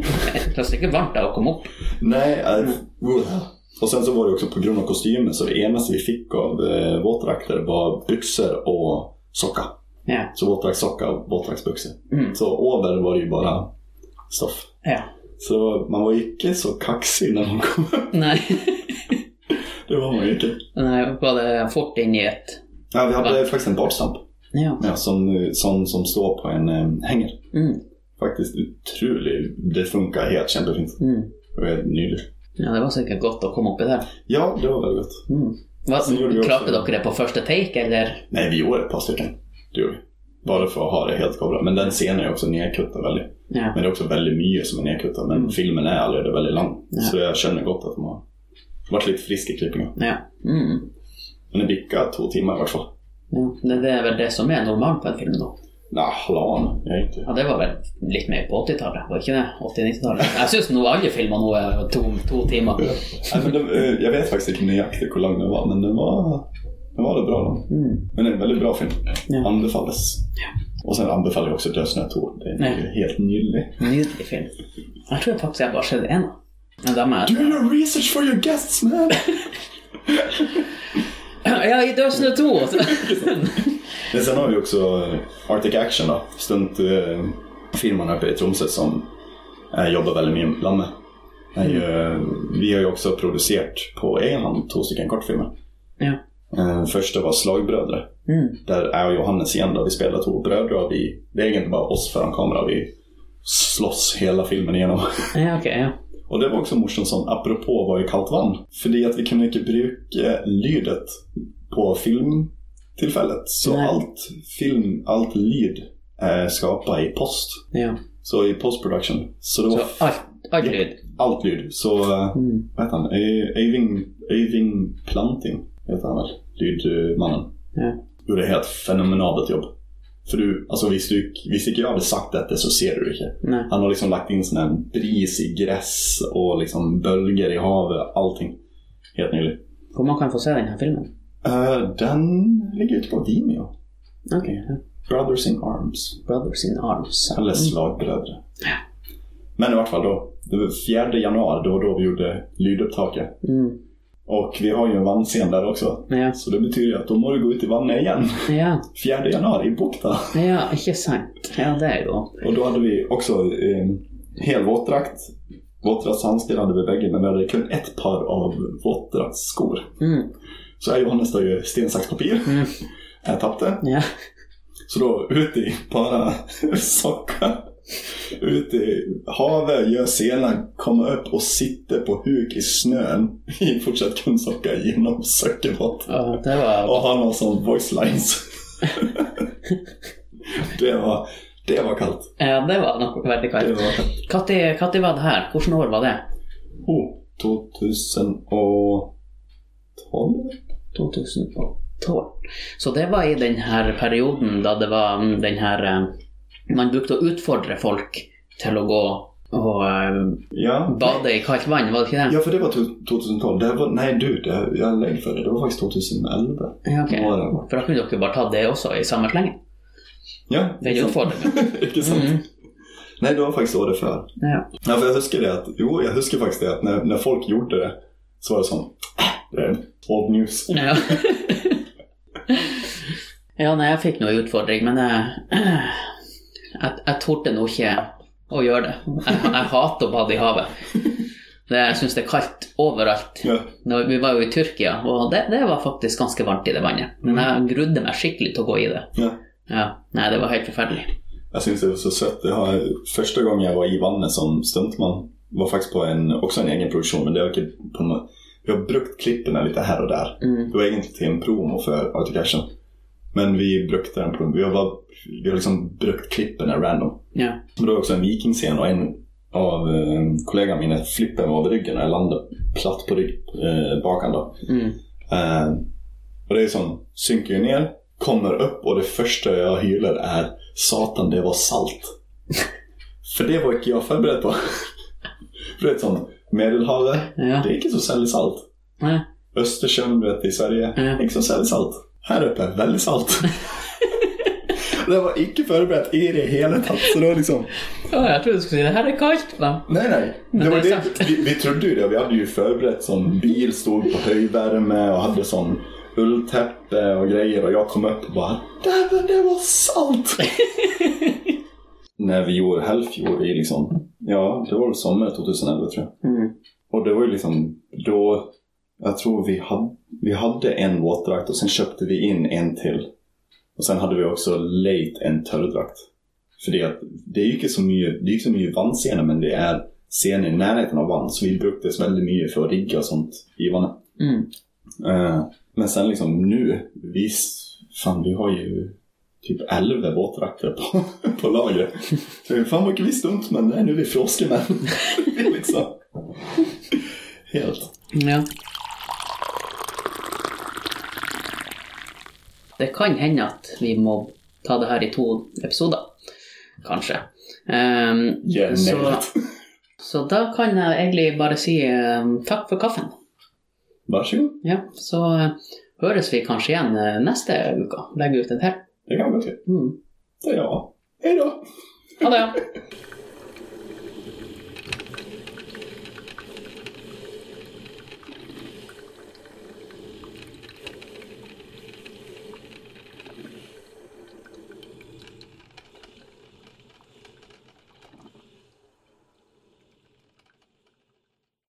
det var säkert varmt där att komma upp.
Nej, äh, uh. Och sen så var det också på grund av kostymen så det enda som vi fick av eh, våtdrakter var byxor och socka.
Ja.
Så våtdraktssocka och våtdraktsbyxor.
Mm.
Så över var det ju bara stoff.
ja.
Så det var, man var inte så kaxig när man kom [laughs] upp.
Nej.
Det var man ju inte.
Nej, var det fort in i ett...
Ja, vi hade
Va?
faktiskt en badstamp
Ja.
ja, som, som, som står på en eh, hänger.
Mm.
Faktiskt otrolig. Det funkar helt kämpefint.
Mm.
Det var helt nyligt.
Ja, det var säkert gott att komma upp i det.
Ja, det var väldigt gott.
Mm.
Så gjorde vi
Vad,
också-
klarte ni det på första take, eller?
Nej, vi gjorde ett par stycken. Det gjorde vi. Bara för att ha det helt kobra. Men den scenen är också nedkuttad väldigt.
Ja.
Men det är också väldigt mycket som är nedkuttad. Men
Mm.
filmen är allerede väldigt lång.
Ja.
Så jag känner gott att de har varit lite friska i klippningen.
ja. Mm.
Men det blickar två timmar i vart fall.
ja. Det, det är väl det som är normalt på en film då.
Nej, Halan. Jag är inte...
Ja, det var väl litt mer på 80-tallet, var ikke det? [laughs] 80-90-tallet. Jeg syns nå alle filmer nå er to, to timer.
Nej, men den, eh, jag vet faktiskt inte vilken nöjaktig kolonn den var, men den var, den var det bra. Då.
Mm.
Men det är en väldigt bra film.
Ja.
Anbefalles. Och sen anbefaller jag också Dödsnö 2. Den är ju helt nyllig.
Nydelig film. Jeg tror faktisk jeg bare har sett én. Men da må jeg
Do your research for your guests man!
[laughs] Ja, i Dødsene 2!
[laughs] Men sen har vi också eh, Arctic Action då. eh, Stuntfirman uppe i Tromsø som eh, jobbar väldigt mycket med Lamme. Är ju, eh, vi har ju också producerat på egen hand två stycken kortfilmer.
Ja.
Eh, Första var Slagbröder.
Mm.
Där är jag och Johannes igen då. Vi spelar två bröder och vi, det är egentligen bara oss föran kamera. Vi slåss hela filmen igenom.
Ja, ok. Ja.
Och det var också morsan som, apropå vad ju kallt vann. För det är att vi kunde inte bruka lydet på filmtillfället. Så
Nej.
allt film, allt lyd eh, skapar i post.
ja.
Så i postproduktion. Så då,
Så alt, alt lyd.
allt ljud. Så, eh,
Mm.
vad heter han? Ö- Öyvind Öyvind Planting heter han väl? Lydmannen.
Ja.
Gjorde ett helt fenomenalt jobb. För du, alltså visst du, visst inte jag hade sagt detta så ser du inte.
Nei.
Han har liksom lagt in sån här bris i gräs och liksom bölger i havet, allting. Helt nyligt.
Hvor man kan få se denne filmen?
Eh, den ligger ute på Vimeo.
Ok. ja.
Brothers in Arms.
Brothers in Arms.
Eller Slagbröder.
Ja.
Men i vart fall då. Det var 4 januari, det var då vi gjorde lydupptaket.
Mm.
Och vi har ju en vannscen där också.
Ja.
Så det betyder ju att då må du gå ut i vattnet igen.
ja.
4 januari i Bukta.
Ja, ikke sant. Ja, det er jo
Och då hade vi också eh, hel våtdrakt. Våtdraktshandskar hade vi bägge, men vi hade kun ett par av våtdraktsskor.
mm.
Så jag och Johannes tar ju sten, sax, papper.
Mm.
Jag tappade.
Ja.
Så då ut i bara [laughs] sockar. Ut i havet, gör sena, komma upp och sitta på huk i snön [laughs] i fortsatt kun socka genom Söckerbotten.
Og det var
Och ha någon sån voice lines. [laughs] det, var, det var kallt.
Ja, det var noe veldig
Det
kaldt.
var kallt.
Når var det her? Hvilket år var det?
Oh, 2012?
2012. Så det var i den her perioden da det var mm, den her eh, Man brukte å utfordre folk til å gå og eh,
Ja.
bade i kaldt vann, var det ikke det?
ja, för det var to- 2012. Det här var, nej du, det här, jag lägger för det. Det var faktiskt 2011.
Ja, ok.
Var det.
For da kunne dere bare tatt det också i samme slenge.
Ja,
Den utfordringen.
[laughs] Inte sant?
Mm.
Nej, det var faktiskt året för.
Ja.
Ja, för jag huskar det att, jo, jag huskar faktiskt det att när, när folk gjorde det så var det som, "Ah, det är old news.
Ja. [laughs] ja, nei, jeg fikk noe utfordring, men [clears throat] jeg, jeg, jeg torde nå ikke å gjøre det. Jeg, jeg hater å bade i havet. Det, jeg syns det er kaldt overalt.
Ja.
Nå, vi var jo i Tyrkia, og det, det var faktisk ganske varmt i det vannet. Men jeg grudde meg skikkelig til å gå i det.
Ja.
Mm. Ja, Nei, det var helt forferdelig.
Jag syns det var så sött. Det har, första gången jag var i vannet som stuntman var faktiskt på en, också en egen produktion, men det var inte på nå- Vi har brukt klippen lite här och där.
Mm.
Det var egentligen till en promo för Arctic Action. Men vi brukte den på, vi har, bara, vi har liksom brukt klippen här random.
Ja.
Men det var också en vikingscen och en av eh, kollegan min flippade mig över ryggen när jag landade platt på rygg, eh, bakan då.
Mm.
Eh, och det är som, synker ju ner, kommer upp och det första jag hylar är Satan, det var salt. [laughs] För det var inte jag förberedd på. [laughs] För det är som, Medelhavet,
Ja.
det är inte så sälligt salt.
Nei.
Östersjön, du vet, i Sverige.
Mm.
Inte så särskilt salt. Här uppe,
[laughs]
väldigt salt. det var icke förberett i det hela tatt, så det var liksom...
Å, jeg trodde du skulle si det her er kaldt. Men...
Nej, nej.
Men
Det var
det är
det, vi, vi trodde ju det. Vi hade ju förberett som bil stod på höjvärme och hade sån ulltäppe och grejer och jag kom upp och bara "Där var- det var
[laughs]
salt! När vi gjorde Hellfjord i liksom, ja det var väl sommar 2011 tror jag.
Mm.
Och det var ju liksom då, jag tror vi, hade vi hade en våtdrakt och sen köpte vi in en till. Och sen hade vi også late en törrdrakt. För det, att- det är ju inte så mycket, det är ju inte så mycket vannscener men det är scener i närheten av vann. Så vi brukades väldigt mycket för att rigga och sånt i vannet.
Mm.
Eh, men sen liksom nu, vi, s- fan vi har ju typ 11 våtdrakter på, på lagret. Så vi, Fan vad mycket vi stumt men nej nu är vi froskemän. [laughs] liksom. Helt.
Ja. Det kan hende at vi må ta det her i to episoder, kanskje. Ehm,
Yeah,
så,
nailed.
så da kan jeg egentlig bare si ehm, takk for kaffen.
Varsågod.
Ja, så eh, høres vi kanskje igjen eh, neste uke. Legger ut en til.
Det kan vi gå till.
Mm.
Det är jag. Hej då!
Ha det.